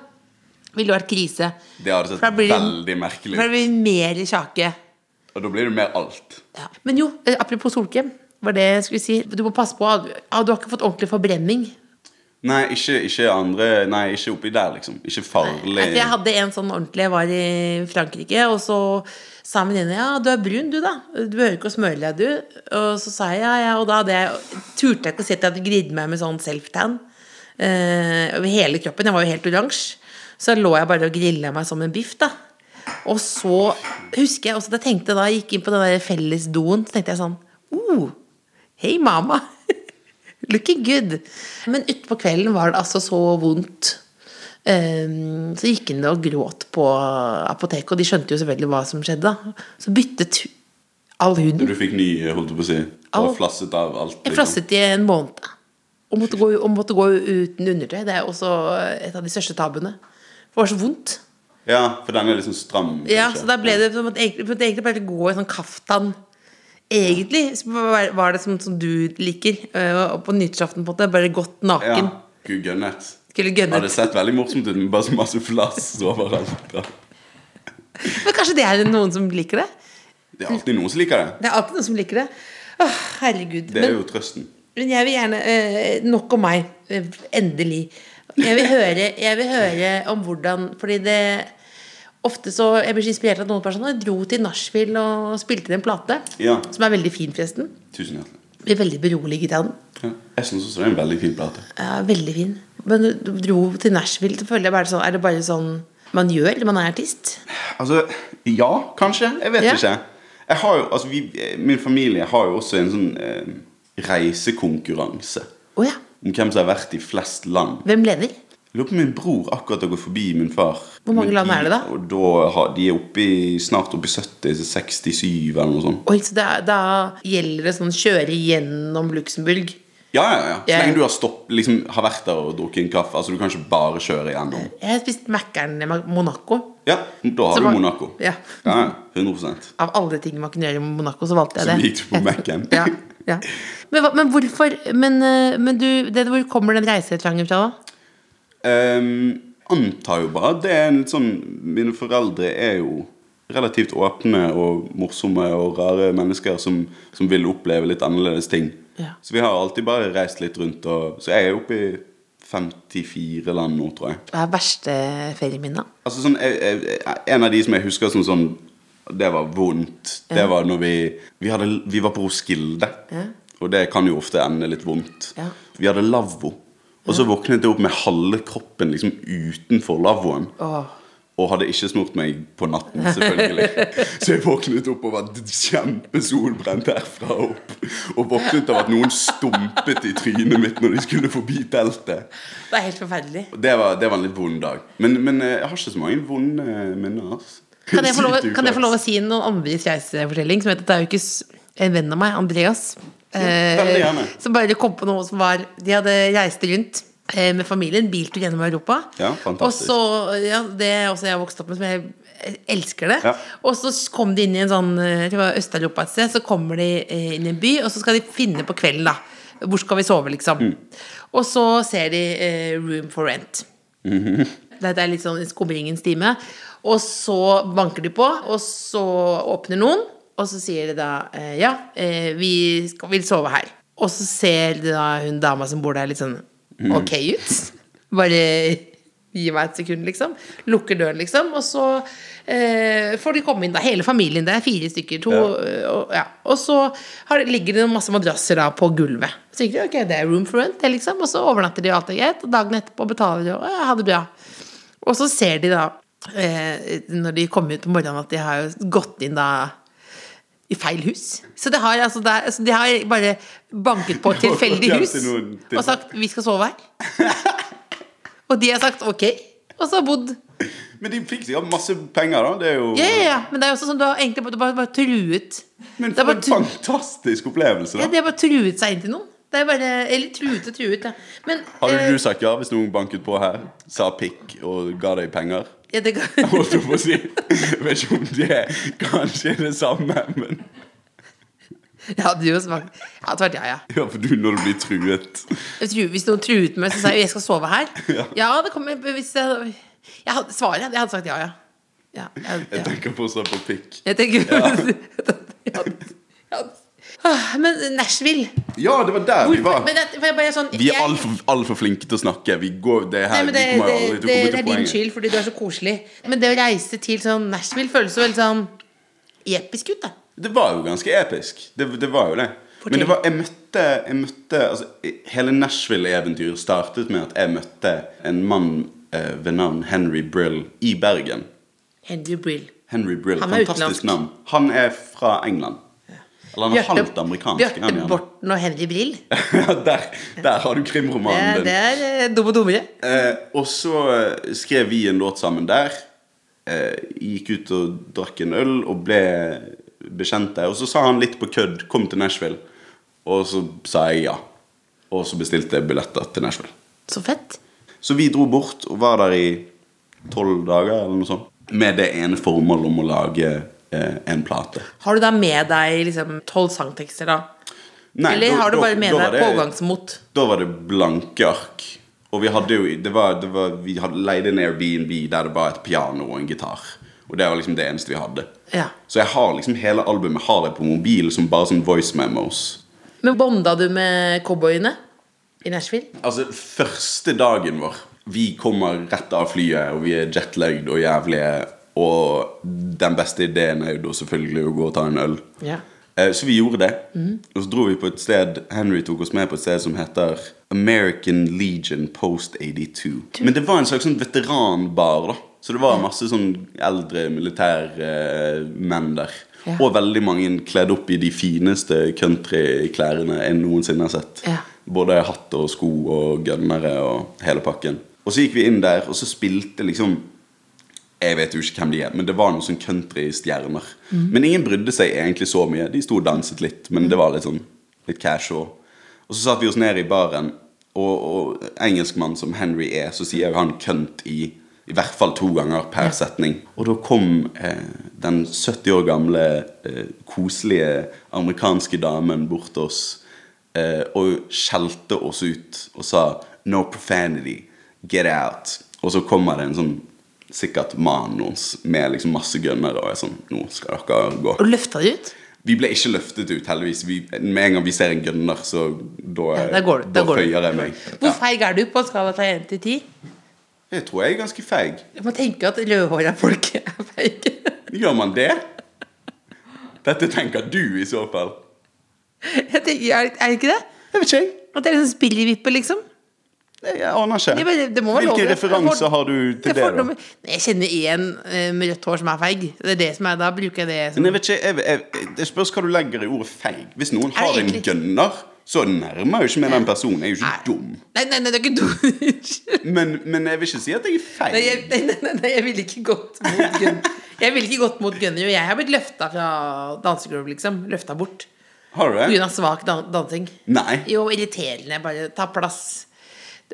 [SPEAKER 3] Ville det vært krise.
[SPEAKER 4] Det hadde
[SPEAKER 3] For da
[SPEAKER 4] sett
[SPEAKER 3] blir det-
[SPEAKER 4] veldig merkelig
[SPEAKER 3] For da
[SPEAKER 4] ut.
[SPEAKER 3] blir det mer kjake.
[SPEAKER 4] Og da blir det mer alt.
[SPEAKER 3] Ja. Men jo, eh, apropos solkrem. Var det jeg skulle si. Du må passe på. at- ah, Du har ikke fått ordentlig forbrenning.
[SPEAKER 4] Nei, ikke, ikke andre Nei, ikke oppi der, liksom. Ikke farlig.
[SPEAKER 3] At jeg hadde en sånn ordentlig Jeg var i Frankrike, og så sa min venninne Ja, du er brun, du, da. Du behøver ikke å smøre deg, du. Og så sa jeg ja, ja. Og da hadde jeg, turte jeg ikke å si at jeg hadde gridd meg med sånn self-tan eh, over hele kroppen. Jeg var jo helt oransje. Så lå jeg bare og grilla meg som en biff, da. Og så husker jeg også at jeg tenkte da jeg gikk inn på den der fellesdoen, så tenkte jeg sånn oh, Hei, mamma. *laughs* Looking good. Men utpå kvelden var det altså så vondt. Ehm, så gikk hun og gråt på apoteket, og de skjønte jo selvfølgelig hva som skjedde. da. Så byttet hu- all huden.
[SPEAKER 4] Du fikk ny, holdt jeg på å si. Og
[SPEAKER 3] Au.
[SPEAKER 4] flasset av alt. liksom.
[SPEAKER 3] Jeg flasset i en måned. da. Og måtte gå, og måtte gå uten undertøy. Det er også et av de største tabuene. For det var så vondt.
[SPEAKER 4] Ja, for den er liksom stram.
[SPEAKER 3] Ja,
[SPEAKER 4] kanskje.
[SPEAKER 3] så da ble det som at egentlig, for at egentlig bare gå i sånn kaftan. Egentlig så var var det som, som du liker, øh, og på nyttårsaften på en måte, bare godt naken.
[SPEAKER 4] Ja. Gud, gønnet.
[SPEAKER 3] Skulle gønne.
[SPEAKER 4] Hadde sett veldig morsomt ut, men bare så masse flass overalt. Ja.
[SPEAKER 3] Men kanskje det er noen som liker det?
[SPEAKER 4] Det er alltid noen som liker det.
[SPEAKER 3] Det er alltid noen som liker det. Åh, herregud.
[SPEAKER 4] Det er
[SPEAKER 3] Men,
[SPEAKER 4] jo trøsten.
[SPEAKER 3] men jeg vil gjerne øh, Nok om meg. øh, endelig. Jeg vil, høre, jeg vil høre om hvordan Fordi det Ofte så Jeg blir så inspirert av at noen personer dro til Nachspiel og spilte inn en plate.
[SPEAKER 4] Ja.
[SPEAKER 3] Som er veldig fin, forresten.
[SPEAKER 4] Tusen hjertelig.
[SPEAKER 3] Blir veldig beroliget av den.
[SPEAKER 4] Ja. Jeg syns også det er en veldig fin plate.
[SPEAKER 3] Ja, veldig fin. Men du du dro til Nashville, så føler jeg bare sånn Er det bare sånn man gjør når man er artist?
[SPEAKER 4] Altså, ja, kanskje. Jeg vet
[SPEAKER 3] Ja.
[SPEAKER 4] ikke. Jeg har jo, altså, vi, min familie har jo også en sånn eh, reisekonkurranse
[SPEAKER 3] Å ja.
[SPEAKER 4] om hvem som har vært i flest land.
[SPEAKER 3] Hvem leder?
[SPEAKER 4] Jeg lurer på om min bror akkurat har gått forbi min far.
[SPEAKER 3] Hvor mange
[SPEAKER 4] Men
[SPEAKER 3] land
[SPEAKER 4] de-
[SPEAKER 3] er det da?
[SPEAKER 4] Og da har, de er oppe i, snart oppe i 70, så 67 eller noe sånt.
[SPEAKER 3] Oi, så da, da gjelder det sånn kjøre gjennom Luxembourg.
[SPEAKER 4] Ja, ja, ja. Så
[SPEAKER 3] Ja.
[SPEAKER 4] lenge du har, stopp, liksom, har vært der og drukket en kaffe. Altså, du kan ikke bare kjøre gjennom.
[SPEAKER 3] Jeg spiste Mækkern i Ma- Monaco.
[SPEAKER 4] Ja, da har
[SPEAKER 3] Så
[SPEAKER 4] du
[SPEAKER 3] var-
[SPEAKER 4] Monaco.
[SPEAKER 3] Ja.
[SPEAKER 4] ja, 100
[SPEAKER 3] Av alle ting man kunne gjøre i Monaco, så valgte jeg
[SPEAKER 4] Så
[SPEAKER 3] det.
[SPEAKER 4] gikk du på Mac-en.
[SPEAKER 3] *laughs* Ja, ja. Men, hva- men hvorfor Men, eh, men du, det, hvor kommer den reisetrangen fra, da?
[SPEAKER 4] Ehm, antar jo bare at det er en litt sånn Mine foreldre er jo relativt åpne og morsomme og rare mennesker som, som vil oppleve litt annerledes ting.
[SPEAKER 3] Ja.
[SPEAKER 4] Så vi har alltid bare reist litt rundt. Og, så jeg er oppe i 54 land nå, tror jeg.
[SPEAKER 3] Hva er verste ferieminnet?
[SPEAKER 4] Altså sånn, jeg, jeg, jeg- En av de som jeg husker som sånn Det var vondt. Det var når vi Vi, hadde, vi var på Roskilde.
[SPEAKER 3] Ja.
[SPEAKER 4] Og det kan jo ofte ende litt vondt.
[SPEAKER 3] Ja.
[SPEAKER 4] Vi hadde lavvo. Og så våknet jeg opp med halve kroppen liksom utenfor lavvoen.
[SPEAKER 3] Åh.
[SPEAKER 4] Og hadde ikke smurt meg på natten,
[SPEAKER 3] *laughs*
[SPEAKER 4] selvfølgelig. Så jeg våknet opp og var d- kjempesolbrent herfra og opp. Og våknet av at noen stumpet i trynet mitt når de skulle forbi teltet.
[SPEAKER 3] Det er helt forferdelig.
[SPEAKER 4] Det var, det var en litt vond dag. Men, men eh, jeg har ikke så mange vonde eh, minner. Altså.
[SPEAKER 3] Kan jeg, få lov,
[SPEAKER 4] Sykt
[SPEAKER 3] kan jeg få lov å
[SPEAKER 4] uflaks.
[SPEAKER 3] si noen andres reisefortelling? Som heter, det er jo ikke s- en venn av meg, Andreas. Eh,
[SPEAKER 4] veldig gjerne.
[SPEAKER 3] som bare kom på noe som var De hadde reist rundt eh, med familien, biltur gjennom Europa.
[SPEAKER 4] Ja, fantastisk.
[SPEAKER 3] Og så, ja, Det er også jeg har vokst opp med, som jeg elsker det.
[SPEAKER 4] Ja.
[SPEAKER 3] Og så kom de inn i en sånn eh, det var Øst-Europa et sted, så kommer de eh, inn i en by, og så skal de finne på kvelden, da. Hvor skal vi sove, liksom?
[SPEAKER 4] Mm.
[SPEAKER 3] Og så ser de eh, Room for Rent. Dette er litt sånn i skumringens time. Og så banker de på, og så åpner noen, og så sier de da eh, Ja, eh, vi skal, vil sove her. Og så ser de da hun dama som bor der, litt sånn ok ut. Bare gi meg et sekund, liksom. Lukker døren, liksom. Og så eh, får de komme inn, da. Hele familien. Det er fire stykker. To, eh, og, ja. og så har, ligger det masse madrasser da på gulvet. Så tenker de ok, det er room for rent, det, liksom. Og så overnatter de, og alt er greit. Og dagen etterpå betaler de, og ja, ha det bra. Og så ser de da, eh, når de kommer ut om morgenen, at de har jo gått inn da i feil hus. Så det har, altså, det er, altså, de har bare banket
[SPEAKER 4] *laughs*
[SPEAKER 3] på et tilfeldig
[SPEAKER 4] hjem
[SPEAKER 3] hus
[SPEAKER 4] til noen
[SPEAKER 3] *laughs*
[SPEAKER 4] til-
[SPEAKER 3] og sagt 'vi skal sove her'. og de har sagt 'ok', og så har bodd.
[SPEAKER 4] Men de fikk sikkert masse penger, da. Det er jo
[SPEAKER 3] Ja, ja, ja. Men det er jo også sånn du har egentlig bare, du bare, bare truet.
[SPEAKER 4] Men
[SPEAKER 3] det er
[SPEAKER 4] for en
[SPEAKER 3] bare, tru-
[SPEAKER 4] fantastisk opplevelse,
[SPEAKER 3] ja,
[SPEAKER 4] da.
[SPEAKER 3] de har bare truet seg inn til noen. Det er bare, eller truet og truet, ja. Men
[SPEAKER 4] Hadde
[SPEAKER 3] eh,
[SPEAKER 4] du sagt ja hvis noen banket på her, sa pikk og ga deg penger?
[SPEAKER 3] ja, det, kan-
[SPEAKER 4] *laughs*
[SPEAKER 3] *laughs*
[SPEAKER 4] Holdt jeg på å si. Jeg vet ikke om det kanskje er det samme, men
[SPEAKER 3] Jeg hadde jo smakt Jeg hadde vært ja, ja.
[SPEAKER 4] Ja, for du når du blir truet.
[SPEAKER 3] Jeg tror, hvis noen truet meg, så sa jeg jeg skal sove
[SPEAKER 4] *laughs*
[SPEAKER 3] her. Ja, det kommer hvis jeg, jeg hadde, Svaret Jeg hadde sagt ja, ja. ja, jeg,
[SPEAKER 4] Jeg
[SPEAKER 3] ja.
[SPEAKER 4] tenker fortsatt på pikk.
[SPEAKER 3] *laughs* Jeg tenker Jeg hadde- jeg hadde- Ah, Men Nashville
[SPEAKER 4] Ja, det var der vi var.
[SPEAKER 3] Men det, for jeg bare sånn
[SPEAKER 4] Vi er
[SPEAKER 3] jeg-
[SPEAKER 4] altfor alt for flinke til å snakke. Vi går, det
[SPEAKER 3] Nei,
[SPEAKER 4] her,
[SPEAKER 3] men det,
[SPEAKER 4] vi kommer
[SPEAKER 3] det, det,
[SPEAKER 4] aldri til å komme
[SPEAKER 3] det er
[SPEAKER 4] til
[SPEAKER 3] din
[SPEAKER 4] poenget.
[SPEAKER 3] skyld, fordi du er så koselig. Men det å reise til sånn Nashville føles jo veldig sånn episk ut, da.
[SPEAKER 4] Det var jo ganske episk. Det, det var jo det.
[SPEAKER 3] Fortell.
[SPEAKER 4] Men det var, jeg møtte, jeg møtte altså, Hele Nashville-eventyret startet med at jeg møtte en mann eh, ved navn Henry Brill i Bergen.
[SPEAKER 3] Henry Brill.
[SPEAKER 4] Henry Brill,
[SPEAKER 3] Han er
[SPEAKER 4] fantastisk
[SPEAKER 3] utenlandsk.
[SPEAKER 4] navn. Han er fra England. Eller han er halvt amerikansk. er han
[SPEAKER 3] Bjarte
[SPEAKER 4] gjerne.
[SPEAKER 3] Borten og Henry Brill.
[SPEAKER 4] *laughs* ja, der, der har du
[SPEAKER 3] Det,
[SPEAKER 4] krimromanen din.
[SPEAKER 3] det er eh, dum og dummere.
[SPEAKER 4] Eh, og så eh, skrev vi en låt sammen der. Eh, gikk ut og drakk en øl og ble bekjente. Og så sa han litt på kødd 'kom til Nashville', og så sa jeg ja. Og så bestilte jeg billetter til Nashville.
[SPEAKER 3] Så fett.
[SPEAKER 4] Så vi dro bort og var der i tolv dager eller noe sånt. Med det ene formål om å lage eh, en plate.
[SPEAKER 3] Har du da med deg liksom tolv sangtekster, da?
[SPEAKER 4] Nei,
[SPEAKER 3] Eller
[SPEAKER 4] da-
[SPEAKER 3] har du
[SPEAKER 4] da-
[SPEAKER 3] bare med
[SPEAKER 4] da var
[SPEAKER 3] deg
[SPEAKER 4] det-
[SPEAKER 3] pågangsmot?
[SPEAKER 4] Da var det blanke ark. Og vi hadde jo det var, det var, Vi hadde leid en Airbnb der det var et piano og en gitar. Og det var liksom det eneste vi hadde.
[SPEAKER 3] Ja.
[SPEAKER 4] Så jeg har liksom hele albumet har jeg på mobil som bare sånn voice memos.
[SPEAKER 3] Men bonda du med cowboyene i Nashville?
[SPEAKER 4] Altså, første dagen vår Vi kommer rett av flyet, og vi er jetlagd og jævlige. Og den beste ideen er jo da selvfølgelig å gå og ta en øl.
[SPEAKER 3] Ja.
[SPEAKER 4] Eh, Så vi gjorde det. Og så dro vi på et sted Henry tok oss med på et sted som heter American Legion Post 82. Men det var en slags sånn veteranbar, da. Så det var masse sånn eldre militærmenn der.
[SPEAKER 3] Ja.
[SPEAKER 4] Og veldig mange kledd opp i de fineste countryklærne jeg noensinne har sett.
[SPEAKER 3] Ja.
[SPEAKER 4] Både hatt og sko og gunnere og hele pakken. Og så gikk vi inn der, og så spilte liksom jeg vet jo ikke hvem de er, men det var noen sånn countrystjerner. Men ingen brydde seg egentlig så mye. De sto og danset litt, men det var litt sånn litt casual. Og så satt vi oss ned i baren, og, og engelskmann som Henry er, så sier jo han kønt i i hvert fall to ganger per setning. Og da kom eh, den 70 år gamle, eh, koselige amerikanske damen bort til oss eh, og skjelte oss ut og sa 'No profanity. Get out.' Og så kommer det en sånn sikkert mannen hans med liksom masse gunnere og er sånn 'Nå skal dere gå'.
[SPEAKER 3] Og løfta de ut?
[SPEAKER 4] Vi ble ikke løftet ut, heldigvis. Vi, med en gang vi ser en gunner, så da,
[SPEAKER 3] Ja, der går du.
[SPEAKER 4] da
[SPEAKER 3] Der går du.
[SPEAKER 4] føyer jeg meg.
[SPEAKER 3] Hvor
[SPEAKER 4] Ja.
[SPEAKER 3] feig er du på en skala fra én til ti?
[SPEAKER 4] Jeg tror jeg er ganske feig.
[SPEAKER 3] Man tenker jo at rødhåra folk er feige. *laughs*
[SPEAKER 4] Gjør man det? Dette tenker du, i så fall.
[SPEAKER 3] Jeg tenker, er, er det ikke det?
[SPEAKER 4] Jeg vet ikke, jeg.
[SPEAKER 3] At det er liksom spillevipper, liksom?
[SPEAKER 4] Jeg jeg aner ikke.
[SPEAKER 3] Det, bare- det må være lov.
[SPEAKER 4] Hvilke referanser har du til det? da?
[SPEAKER 3] da? Jeg kjenner én eh, med rødt hår som er feig. Det er det som er, da bruker jeg det som
[SPEAKER 4] Men jeg vet ikke, jeg, jeg, Det spørs hva du legger i ordet feig. Hvis noen har en
[SPEAKER 3] egentlig-
[SPEAKER 4] gunner, så nærmer jeg jo ikke meg den personen. Jeg er jo ikke dum.
[SPEAKER 3] Nei, nei, nei, det er ikke dum. *laughs* Unnskyld.
[SPEAKER 4] Men, men jeg vil ikke si at jeg er feig.
[SPEAKER 3] Nei, jeg, nei, nei, nei, nei, jeg ville ikke gått mot gun. Jeg ville ikke gått mot gunner. og Jeg har blitt løfta fra dansegulv, liksom. Løfta bort.
[SPEAKER 4] Har du det?
[SPEAKER 3] Pga. svak dan dansing.
[SPEAKER 4] Nei.
[SPEAKER 3] Jo, irriterende. Bare ta plass.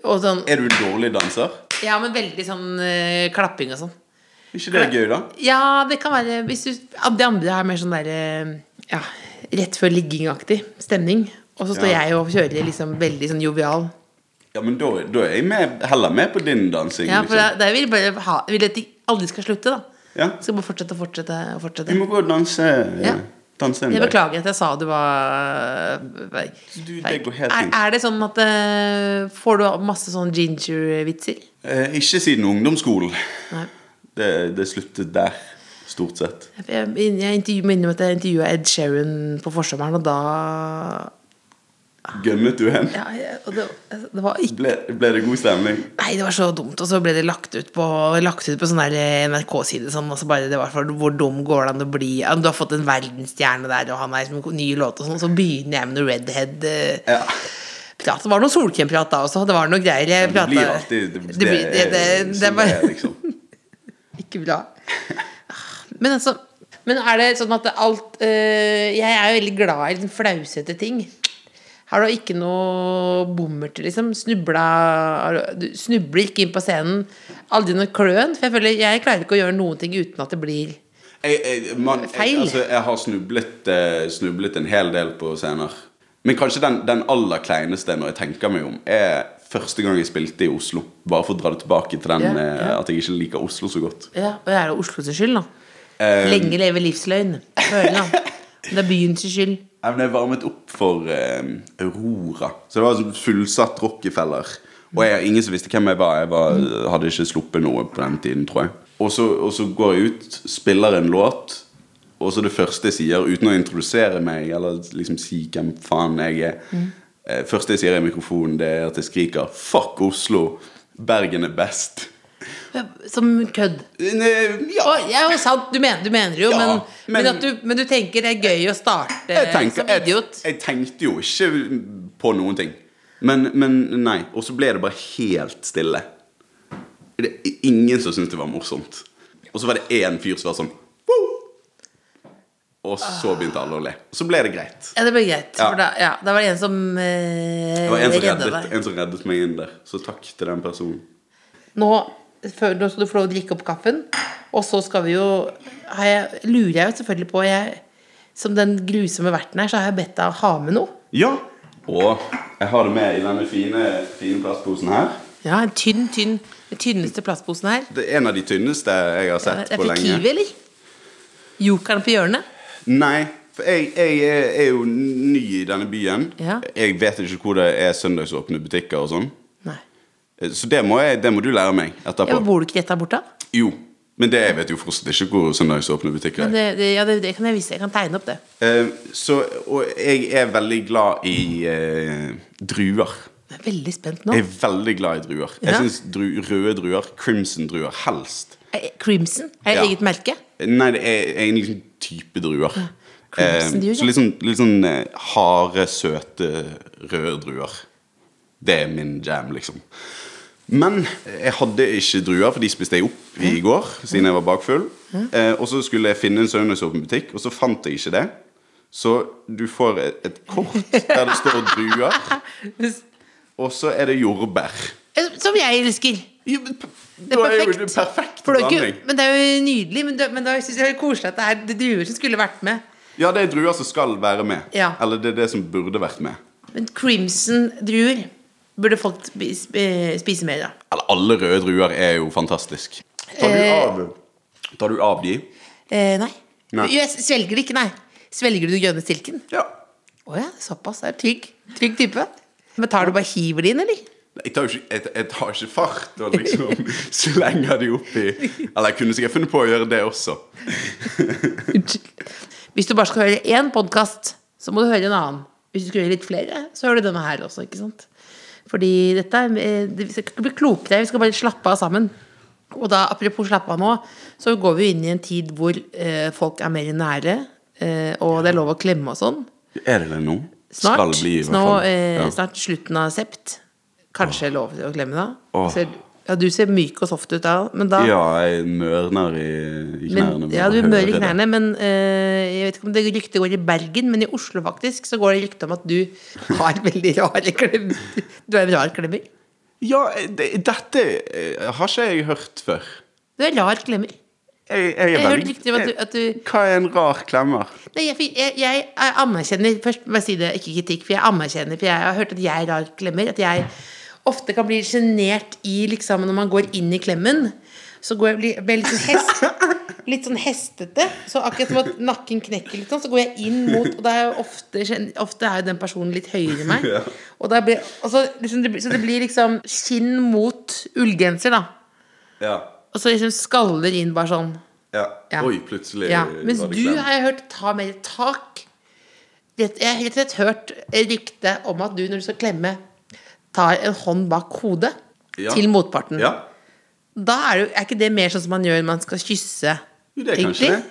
[SPEAKER 3] Og sånn
[SPEAKER 4] Er du en dårlig danser?
[SPEAKER 3] Ja, men veldig sånn eh, klapping og sånn.
[SPEAKER 4] Er ikke det gøy, da?
[SPEAKER 3] Ja, det kan være hvis du, ja, Det andre er mer sånn der eh, ja, rett før ligging-aktig stemning. Og så står
[SPEAKER 4] Ja.
[SPEAKER 3] jeg og kjører liksom veldig sånn jovial.
[SPEAKER 4] Ja, men Da, da er jeg med, heller med på din dansing.
[SPEAKER 3] Ja, for
[SPEAKER 4] liksom.
[SPEAKER 3] da, da vil jeg bare ha Vil at de aldri skal slutte, da.
[SPEAKER 4] ja.
[SPEAKER 3] Skal bare fortsette og fortsette og fortsette.
[SPEAKER 4] Vi må gå og danse,
[SPEAKER 3] Ja.
[SPEAKER 4] danse en
[SPEAKER 3] Jeg
[SPEAKER 4] dag.
[SPEAKER 3] beklager at jeg sa du var feig.
[SPEAKER 4] Du, det går helt
[SPEAKER 3] Er,
[SPEAKER 4] fint.
[SPEAKER 3] er det sånn at eh, Får du masse sånn ginger-vitser?
[SPEAKER 4] Eh, ikke siden ungdomsskolen.
[SPEAKER 3] Nei.
[SPEAKER 4] Det, det sluttet der, stort sett.
[SPEAKER 3] Jeg, jeg, jeg intervju- minner om at jeg intervjua Ed Sheeran på forsommeren, og da
[SPEAKER 4] Gønnet du hen?
[SPEAKER 3] ja, jeg- og det, altså, det var ikke
[SPEAKER 4] Ble, ble det god stemning?
[SPEAKER 3] Nei, det var så dumt. Og så ble det lagt ut på, lagt ut på sånn der NRK-side. Sånn, og så bare det var for Hvor dum går det an å bli? Ja, Du har fått en verdensstjerne der, og han er liksom ny låt og sånn. Så begynner jeg med noe eh, redhead-prat.
[SPEAKER 4] Ja.
[SPEAKER 3] Det var noe solkremprat da også. Det var noe greier. Jeg
[SPEAKER 4] Det blir
[SPEAKER 3] pratet-
[SPEAKER 4] alltid
[SPEAKER 3] Det blir- det- det- det
[SPEAKER 4] sånn
[SPEAKER 3] var-
[SPEAKER 4] det er, liksom.
[SPEAKER 3] *laughs* Ikke bra. Men altså Men er det sånn at det alt eh, Jeg er jo veldig glad i liksom flausete ting. Har du ikke noe bommert, liksom? Snubla har du- Du snubler ikke inn på scenen. Aldri noe kløn. For jeg føler jeg klarer ikke å gjøre noen ting uten at det blir
[SPEAKER 4] Jeg, jeg, man, jeg,
[SPEAKER 3] Feil.
[SPEAKER 4] altså, jeg har snublet, eh, snublet en hel del på scener. Men kanskje den, den aller kleineste når jeg tenker meg om, er første gang jeg spilte i Oslo. Bare for å dra det tilbake til den
[SPEAKER 3] Ja,
[SPEAKER 4] eh,
[SPEAKER 3] ja.
[SPEAKER 4] at jeg ikke liker Oslo så godt.
[SPEAKER 3] Ja, og det er det Oslos skyld, da.
[SPEAKER 4] Eh,
[SPEAKER 3] Lenge leve livsløgn. Føler jeg, da. Det er byens skyld.
[SPEAKER 4] Jeg ble varmet opp for eh, Aurora. Så det var en fullsatt Rockefeller. Og jeg, ingen som visste hvem jeg var. Jeg var, hadde ikke sluppet noe på den tiden, tror jeg. Og så, og så går jeg ut, spiller en låt, og så det første jeg sier, uten å introdusere meg eller liksom si hvem faen jeg er eh, Første jeg sier i mikrofonen, det er at jeg skriker 'fuck Oslo'. Bergen er best.
[SPEAKER 3] Som kødd.
[SPEAKER 4] Nei, Ja,
[SPEAKER 3] Å, ja, jo, sant, du mener, du mener jo,
[SPEAKER 4] Ja,
[SPEAKER 3] men, men,
[SPEAKER 4] men-
[SPEAKER 3] at du, men du tenker det er gøy å starte
[SPEAKER 4] jeg, tenker,
[SPEAKER 3] som
[SPEAKER 4] jeg,
[SPEAKER 3] idiot?
[SPEAKER 4] jeg tenkte jo ikke på noen ting. Men, men nei. Og så ble det bare helt stille. Det er ingen som syntes det var morsomt. Og så var det én fyr som var sånn «Woo!» Og så begynte alle å le. Og så ble det greit.
[SPEAKER 3] Ja, det ble greit.
[SPEAKER 4] Ja.
[SPEAKER 3] For da, ja, da var det en som eh,
[SPEAKER 4] Det var en som
[SPEAKER 3] redda
[SPEAKER 4] reddet,
[SPEAKER 3] deg.
[SPEAKER 4] en som reddet meg inn der. Så takk til den personen.
[SPEAKER 3] Nå, før, nå skal du få lov å drikke opp kaffen, og så skal vi jo har jeg, Lurer jeg jo selvfølgelig på jeg, Som den grusomme verten her, så har jeg bedt deg å ha med noe.
[SPEAKER 4] Ja. Og jeg har det med i denne fine, fine plastposen her.
[SPEAKER 3] Ja, en tynn, tynn. Den tynneste plastposen her.
[SPEAKER 4] Det er en av de tynneste jeg har
[SPEAKER 3] Ja,
[SPEAKER 4] sett
[SPEAKER 3] det er
[SPEAKER 4] på
[SPEAKER 3] fra
[SPEAKER 4] lenge.
[SPEAKER 3] Kiwi, eller? Jokeren på hjørnet?
[SPEAKER 4] Nei, for jeg, jeg er- er jo ny i denne byen.
[SPEAKER 3] Ja.
[SPEAKER 4] Jeg vet ikke hvor det er søndagsåpne butikker og sånn.
[SPEAKER 3] Nei.
[SPEAKER 4] Så det må, jeg, det må du lære meg etterpå.
[SPEAKER 3] Ja, men bor du ikke rett der borte? da?
[SPEAKER 4] Jo, men det jeg vet jo fortsatt ikke hvor søndagsåpne butikker
[SPEAKER 3] Men
[SPEAKER 4] er.
[SPEAKER 3] det, det, ja, det, det kan jeg vise. Jeg kan tegne opp det.
[SPEAKER 4] Eh, så, og jeg er veldig glad i eh, druer.
[SPEAKER 3] Jeg er veldig spent nå.
[SPEAKER 4] Jeg er veldig glad i druer. Jeg
[SPEAKER 3] Ja.
[SPEAKER 4] syns dru, røde druer, crimson-druer, helst.
[SPEAKER 3] Eh, Crimson er
[SPEAKER 4] Ja.
[SPEAKER 3] eget merke.
[SPEAKER 4] Nei, det er er en liksom type druer. Eh,
[SPEAKER 3] crimson-druer, ja.
[SPEAKER 4] så litt sånn, litt sånn eh, harde, søte, røde druer. Det er min jam, liksom. Men jeg hadde ikke druer, for de spiste jeg opp i går. Siden jeg var bakfull eh, Og så skulle jeg finne en søndagsåpen butikk, og så fant jeg ikke det. Så du får et, et kort der det står druer,
[SPEAKER 3] *laughs*
[SPEAKER 4] og så er det jordbær.
[SPEAKER 3] Eh, Som jeg elsker.
[SPEAKER 4] Ja, men p-
[SPEAKER 3] Det
[SPEAKER 4] Da
[SPEAKER 3] er
[SPEAKER 4] er jo
[SPEAKER 3] perfekt.
[SPEAKER 4] det perfekt
[SPEAKER 3] For det er jo
[SPEAKER 4] blanding.
[SPEAKER 3] ikke, men det er jo nydelig. Men, det, men da synes jeg det er koselig at det er det druer som skulle vært med.
[SPEAKER 4] Ja, det er druer som skal være med.
[SPEAKER 3] Ja.
[SPEAKER 4] Eller det er det som burde vært med.
[SPEAKER 3] Men crimson-druer burde folk spise, eh, spise mer av.
[SPEAKER 4] Eller alle røde druer er jo fantastisk. Tar du av, tar du av de?
[SPEAKER 3] Eh, nei.
[SPEAKER 4] Nei.
[SPEAKER 3] Jo, jeg svelger det ikke, nei. Svelger du den grønne stilken?
[SPEAKER 4] Ja.
[SPEAKER 3] Å ja, såpass. Er du trygg? Trygg type. Men tar du bare hiver det inn, eller?
[SPEAKER 4] Jeg tar, jo ikke, jeg, jeg tar ikke fart og *laughs* liksom slenger de oppi. Eller jeg kunne sikkert funnet på å gjøre det også.
[SPEAKER 3] Unnskyld. Hvis du bare skal høre én podkast, så må du høre en annen. Hvis du skal høre litt flere, så hører du denne her også, ikke sant? Fordi dette er eh, det- Vi skal ikke bli klokere, vi skal bare slappe av sammen. Og da, apropos slappe av nå, så går vi jo inn i en tid hvor eh, folk er mer nære, eh, og det er lov å klemme og sånn.
[SPEAKER 4] Er det det nå?
[SPEAKER 3] Snart.
[SPEAKER 4] Skal bli, i hvert
[SPEAKER 3] nå,
[SPEAKER 4] fall.
[SPEAKER 3] eh,
[SPEAKER 4] Ja.
[SPEAKER 3] snart slutten av sept. Kanskje lov til å klemme da.
[SPEAKER 4] Åh.
[SPEAKER 3] Ser, ja, du ser myk og soft ut da, men da
[SPEAKER 4] Ja, jeg mørner i, i knærne.
[SPEAKER 3] men,
[SPEAKER 4] bare
[SPEAKER 3] ja, du
[SPEAKER 4] hører
[SPEAKER 3] mør i
[SPEAKER 4] det.
[SPEAKER 3] knærne, men eh, jeg vet ikke om det ryktet går i Bergen, men i Oslo faktisk så går det rykte om at du har veldig rare klemmer. Du er en rar klemmer.
[SPEAKER 4] Ja, det, dette eh, har ikke jeg hørt før.
[SPEAKER 3] Du er rar klemmer.
[SPEAKER 4] Jeg, jeg er
[SPEAKER 3] Jeg hørte
[SPEAKER 4] veldig-
[SPEAKER 3] rykter om at du- at du-
[SPEAKER 4] Hva er en rar klemmer?
[SPEAKER 3] Nei, jeg, fikk- jeg, jeg er- anerkjenner Først må jeg si det, ikke kritikk, for jeg anerkjenner For jeg har hørt at jeg er rar klemmer At jeg ofte kan bli genert i liksom, Når man går inn i klemmen Så går jeg, blir, blir litt sånn hest Litt sånn hestete Så akkurat som at nakken knekker litt sånn Så går jeg inn mot Og da er jo ofte, gen- ofte er jo den personen litt høyere enn meg Og da blir og så, liksom, det, blir- Så det blir liksom skinn mot ullgenser da
[SPEAKER 4] Ja,
[SPEAKER 3] Og så liksom skaller inn bare sånn
[SPEAKER 4] ja.
[SPEAKER 3] Ja.
[SPEAKER 4] Oi, plutselig
[SPEAKER 3] ja.
[SPEAKER 4] var det
[SPEAKER 3] Mens du
[SPEAKER 4] klem.
[SPEAKER 3] har jeg hørt ta mer tak. Rett- Jeg har rett og slett hørt et rykte om at du når du skal klemme, tar en hånd bak hodet
[SPEAKER 4] Ja.
[SPEAKER 3] til motparten.
[SPEAKER 4] Ja,
[SPEAKER 3] Da er, det, jo- er ikke det mer sånn som man gjør når man skal kysse?
[SPEAKER 4] jo, det er kanskje det.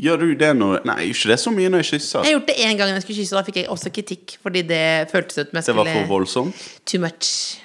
[SPEAKER 4] Gjør du det når Nei, gjør ikke det så mye når jeg kysser.
[SPEAKER 3] Jeg har gjort det én gang når jeg skulle kysse, og da fikk jeg også kritikk. Fordi det føltes ut som jeg
[SPEAKER 4] Det var for
[SPEAKER 3] skulle
[SPEAKER 4] voldsomt.
[SPEAKER 3] Too much.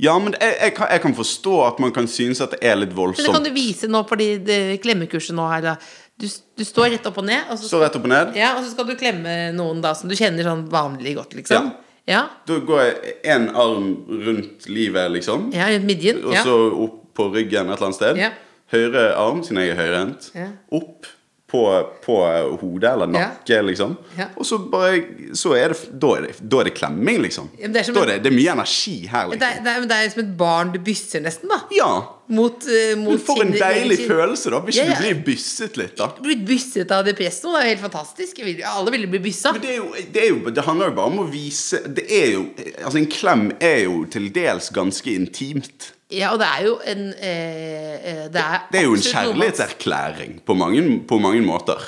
[SPEAKER 4] Ja, men jeg, jeg, kan, jeg kan forstå at man kan synes at det er litt
[SPEAKER 3] Men det kan
[SPEAKER 4] voldsomt.
[SPEAKER 3] du vise nå på de- det klemmekurset nå her, da. Du, du står rett opp og ned, og så,
[SPEAKER 4] Så rett opp og ned.
[SPEAKER 3] ja, og så skal du klemme noen da som du kjenner sånn vanlig godt, liksom. Ja.
[SPEAKER 4] Da går jeg én arm rundt livet, liksom.
[SPEAKER 3] Ja, rundt midjen.
[SPEAKER 4] Og
[SPEAKER 3] Ja.
[SPEAKER 4] så opp på ryggen et eller annet sted.
[SPEAKER 3] Ja.
[SPEAKER 4] Høyre arm, siden jeg er høyrehendt.
[SPEAKER 3] Ja.
[SPEAKER 4] Opp på, på hodet eller
[SPEAKER 3] Ja.
[SPEAKER 4] nakke, liksom.
[SPEAKER 3] Ja.
[SPEAKER 4] Og så bare så er det, da, er det, da er det klemming, liksom.
[SPEAKER 3] Ja, men det er som
[SPEAKER 4] da
[SPEAKER 3] en-
[SPEAKER 4] er det, det er mye energi her,
[SPEAKER 3] Det, er-
[SPEAKER 4] liksom.
[SPEAKER 3] det, er- men det er som et barn du bysser nesten, da.
[SPEAKER 4] Ja.
[SPEAKER 3] Mot, eh, mot
[SPEAKER 4] Men for en
[SPEAKER 3] sine-
[SPEAKER 4] deilig
[SPEAKER 3] sine-
[SPEAKER 4] følelse, da. Hvis
[SPEAKER 3] Ja,
[SPEAKER 4] ikke
[SPEAKER 3] ja.
[SPEAKER 4] du blir bysset litt, da.
[SPEAKER 3] Blitt bysset av depresso, det er jo helt fantastisk. Jeg vil- Alle ville bli byssa.
[SPEAKER 4] Men det, er jo, det, er jo, det handler jo bare om å vise Det er jo Altså, en klem er jo til dels ganske intimt.
[SPEAKER 3] Ja, og det er jo en eh, eh, det, er
[SPEAKER 4] Det er jo en
[SPEAKER 3] absolutt noe man-
[SPEAKER 4] kjærlighetserklæring på mange, på mange måter.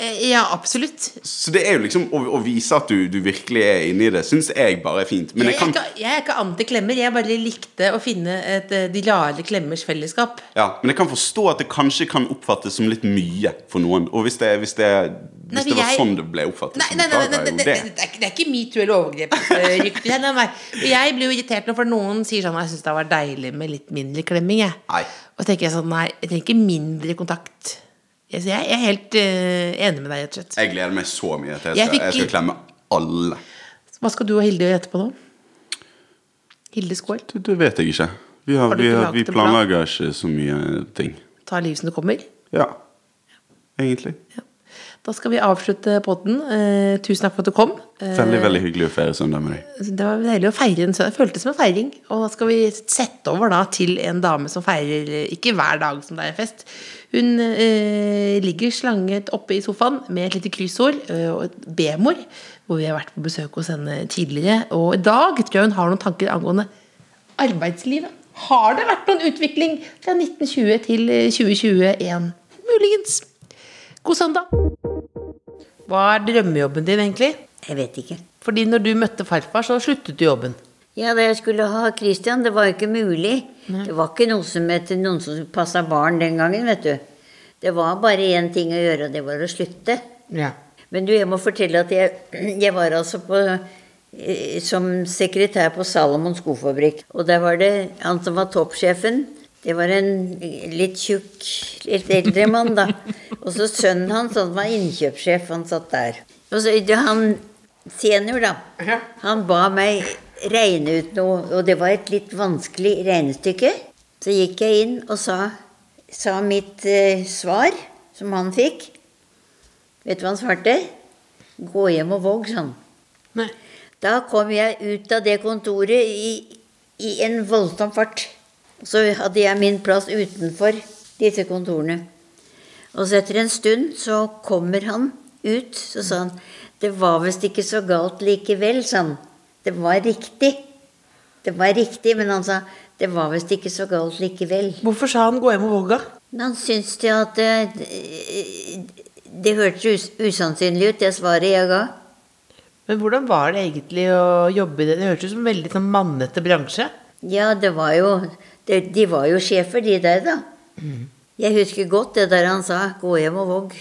[SPEAKER 3] Eh, Ja, absolutt.
[SPEAKER 4] Så det er jo liksom å, å vise at du, du virkelig er inni det, syns jeg bare er fint. Men
[SPEAKER 3] Jeg,
[SPEAKER 4] jeg kan,
[SPEAKER 3] er ikke, jeg er ikke anti-klemmer, jeg bare likte å finne et, eh, de rare klemmers fellesskap.
[SPEAKER 4] ja, men jeg kan forstå at det kanskje kan oppfattes som litt mye for noen. Og hvis det, hvis det,
[SPEAKER 3] Nei,
[SPEAKER 4] hvis det var
[SPEAKER 3] jeg-
[SPEAKER 4] sånn det ble oppfattet,
[SPEAKER 3] Nei, nei,
[SPEAKER 4] så
[SPEAKER 3] nei, nei, nei,
[SPEAKER 4] beklager jeg
[SPEAKER 3] det, det,
[SPEAKER 4] jo det.
[SPEAKER 3] er ikke- det er ikke metoo eller overgrepsrykter. Nei, nei, nei. Og Jeg blir jo irritert når for noen sier sånn Jeg syns det var deilig med litt mindre klemming. Jeg.
[SPEAKER 4] Nei.
[SPEAKER 3] Og tenker jeg sånn Nei, jeg trenger ikke mindre kontakt. Jeg, så jeg, jeg er helt eh, enig med deg, rett og slett.
[SPEAKER 4] Jeg gleder meg så mye til jeg
[SPEAKER 3] Jeg
[SPEAKER 4] skal,
[SPEAKER 3] fikk
[SPEAKER 4] jeg skal
[SPEAKER 3] litt-
[SPEAKER 4] klemme alle.
[SPEAKER 3] Hva skal du og Hilde gjøre etterpå nå? Hilde Skål.
[SPEAKER 4] Det, det vet jeg ikke. Vi, har,
[SPEAKER 3] Har du
[SPEAKER 4] vi,
[SPEAKER 3] ikke
[SPEAKER 4] har,
[SPEAKER 3] laget
[SPEAKER 4] vi
[SPEAKER 3] en plan?
[SPEAKER 4] planlegger ikke så mye ting.
[SPEAKER 3] Ta livet som det kommer.
[SPEAKER 4] Ja. Egentlig.
[SPEAKER 3] Da skal vi avslutte podden. Eh, tusen takk for at du kom. Eh,
[SPEAKER 4] Veldig, veldig hyggelig å feire søndag med deg.
[SPEAKER 3] Det var deilig å feire en søndag. Det føltes som en feiring. Og da skal vi sette over da til en dame som feirer eh, ikke hver dag som det er fest. Hun eh, ligger slanget oppe i sofaen med et lite kryssord eh, og et B-mor, hvor vi har vært på besøk hos henne tidligere. Og i dag tror jeg hun har noen tanker angående arbeidslivet. Har det vært noen utvikling fra 1920 til eh, 2021? Muligens. God søndag. Hva er drømmejobben din, egentlig?
[SPEAKER 6] Jeg vet ikke.
[SPEAKER 3] Fordi når du møtte farfar, så sluttet du jobben.
[SPEAKER 6] Ja, da jeg skulle ha Christian, det var jo ikke mulig. Det var ikke noe som het noen som passa barn den gangen, vet du. Det var bare én ting å gjøre, og det var å slutte.
[SPEAKER 3] Ja.
[SPEAKER 6] Men du, jeg må fortelle at jeg, *clears throat* jeg var altså på eh, som sekretær på Salomon skofabrikk. Og der var det han som var toppsjefen. Det var en litt tjukk, litt eldre mann, da. Og så sønnen hans, han var innkjøpssjef, han satt der. Og så det- han senior, da. Han ba meg regne ut noe, og det var et litt vanskelig regnestykke. Så gikk jeg inn og sa, sa mitt eh, svar, som han fikk. Vet du hva han svarte? Gå hjem og våg, sånn.
[SPEAKER 3] Nei.
[SPEAKER 6] Da kom jeg ut av det kontoret i, i en voldsom fart. Så hadde jeg min plass utenfor disse kontorene. Og så etter en stund så kommer han ut, så sa han Det var visst ikke så galt likevel, sa han. Det var riktig. Det var riktig, men han sa Det var visst ikke så galt likevel.
[SPEAKER 3] Hvorfor sa han 'gå hjem og våga'?
[SPEAKER 6] Men han syntes det at det, det hørtes us usannsynlig ut, det svaret jeg ga.
[SPEAKER 3] Men hvordan var det egentlig å jobbe i det? Det hørtes ut som en veldig sånn mannete bransje.
[SPEAKER 6] Ja, det var jo det, De var jo sjefer, de der, da. Jeg husker godt det der han sa 'gå hjem og våg'.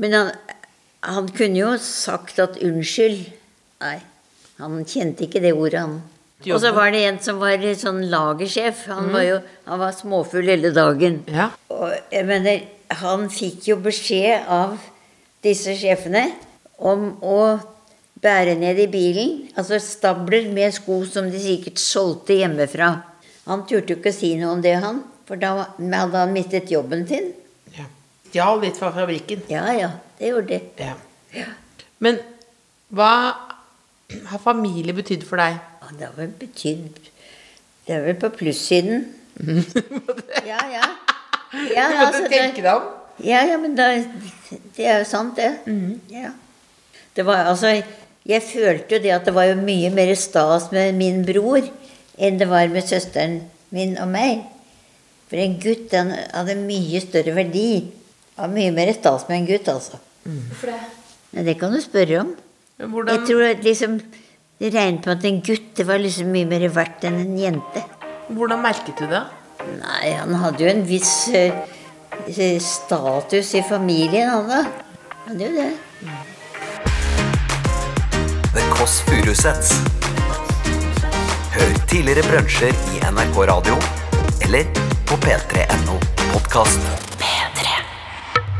[SPEAKER 6] Men han, han kunne jo sagt at 'unnskyld'. Nei, han kjente ikke det ordet, han. Og så var det en som var litt sånn lagersjef. Han var jo han var småfull hele dagen.
[SPEAKER 3] Ja.
[SPEAKER 6] Og jeg mener, han fikk jo beskjed av disse sjefene om å bære ned i bilen, altså stabler med sko som de sikkert solgte hjemmefra. Han turte jo ikke å si noe om det, han, for da hadde han mistet jobben sin.
[SPEAKER 3] ja. Stjal litt fra fabrikken.
[SPEAKER 6] Ja, ja, det gjorde det.
[SPEAKER 3] Ja. Men hva har familie betydd for deg?
[SPEAKER 6] Ja, Det har vel betydd Det er vel på
[SPEAKER 3] *laughs*
[SPEAKER 6] plussiden. Ja, ja. ja
[SPEAKER 3] du måtte
[SPEAKER 6] altså, det-
[SPEAKER 3] tenke deg om.
[SPEAKER 6] Ja, ja, men da, det er jo sant, det.
[SPEAKER 3] Mhm.
[SPEAKER 6] Ja. Det var altså Jeg følte jo det at det var jo mye mer stas med min bror enn det var med søsteren min og meg. For en gutt den hadde mye større verdi. Det var mye mer stas med en gutt, altså.
[SPEAKER 3] Mhm.
[SPEAKER 6] Hvorfor det? Det kan du spørre om.
[SPEAKER 3] Men
[SPEAKER 6] Jeg
[SPEAKER 3] Hvordan,
[SPEAKER 6] tror at liksom Det regnet på at en gutt det var liksom mye mer verdt enn en jente.
[SPEAKER 3] hvordan merket du det?
[SPEAKER 6] Nei, han hadde jo en viss eh, eh, status i familien, han da. Han Hadde jo det.
[SPEAKER 2] The Kåss Furuseths. Hør Tidligere brunsjer i NRK Radio eller på p3.no podkast.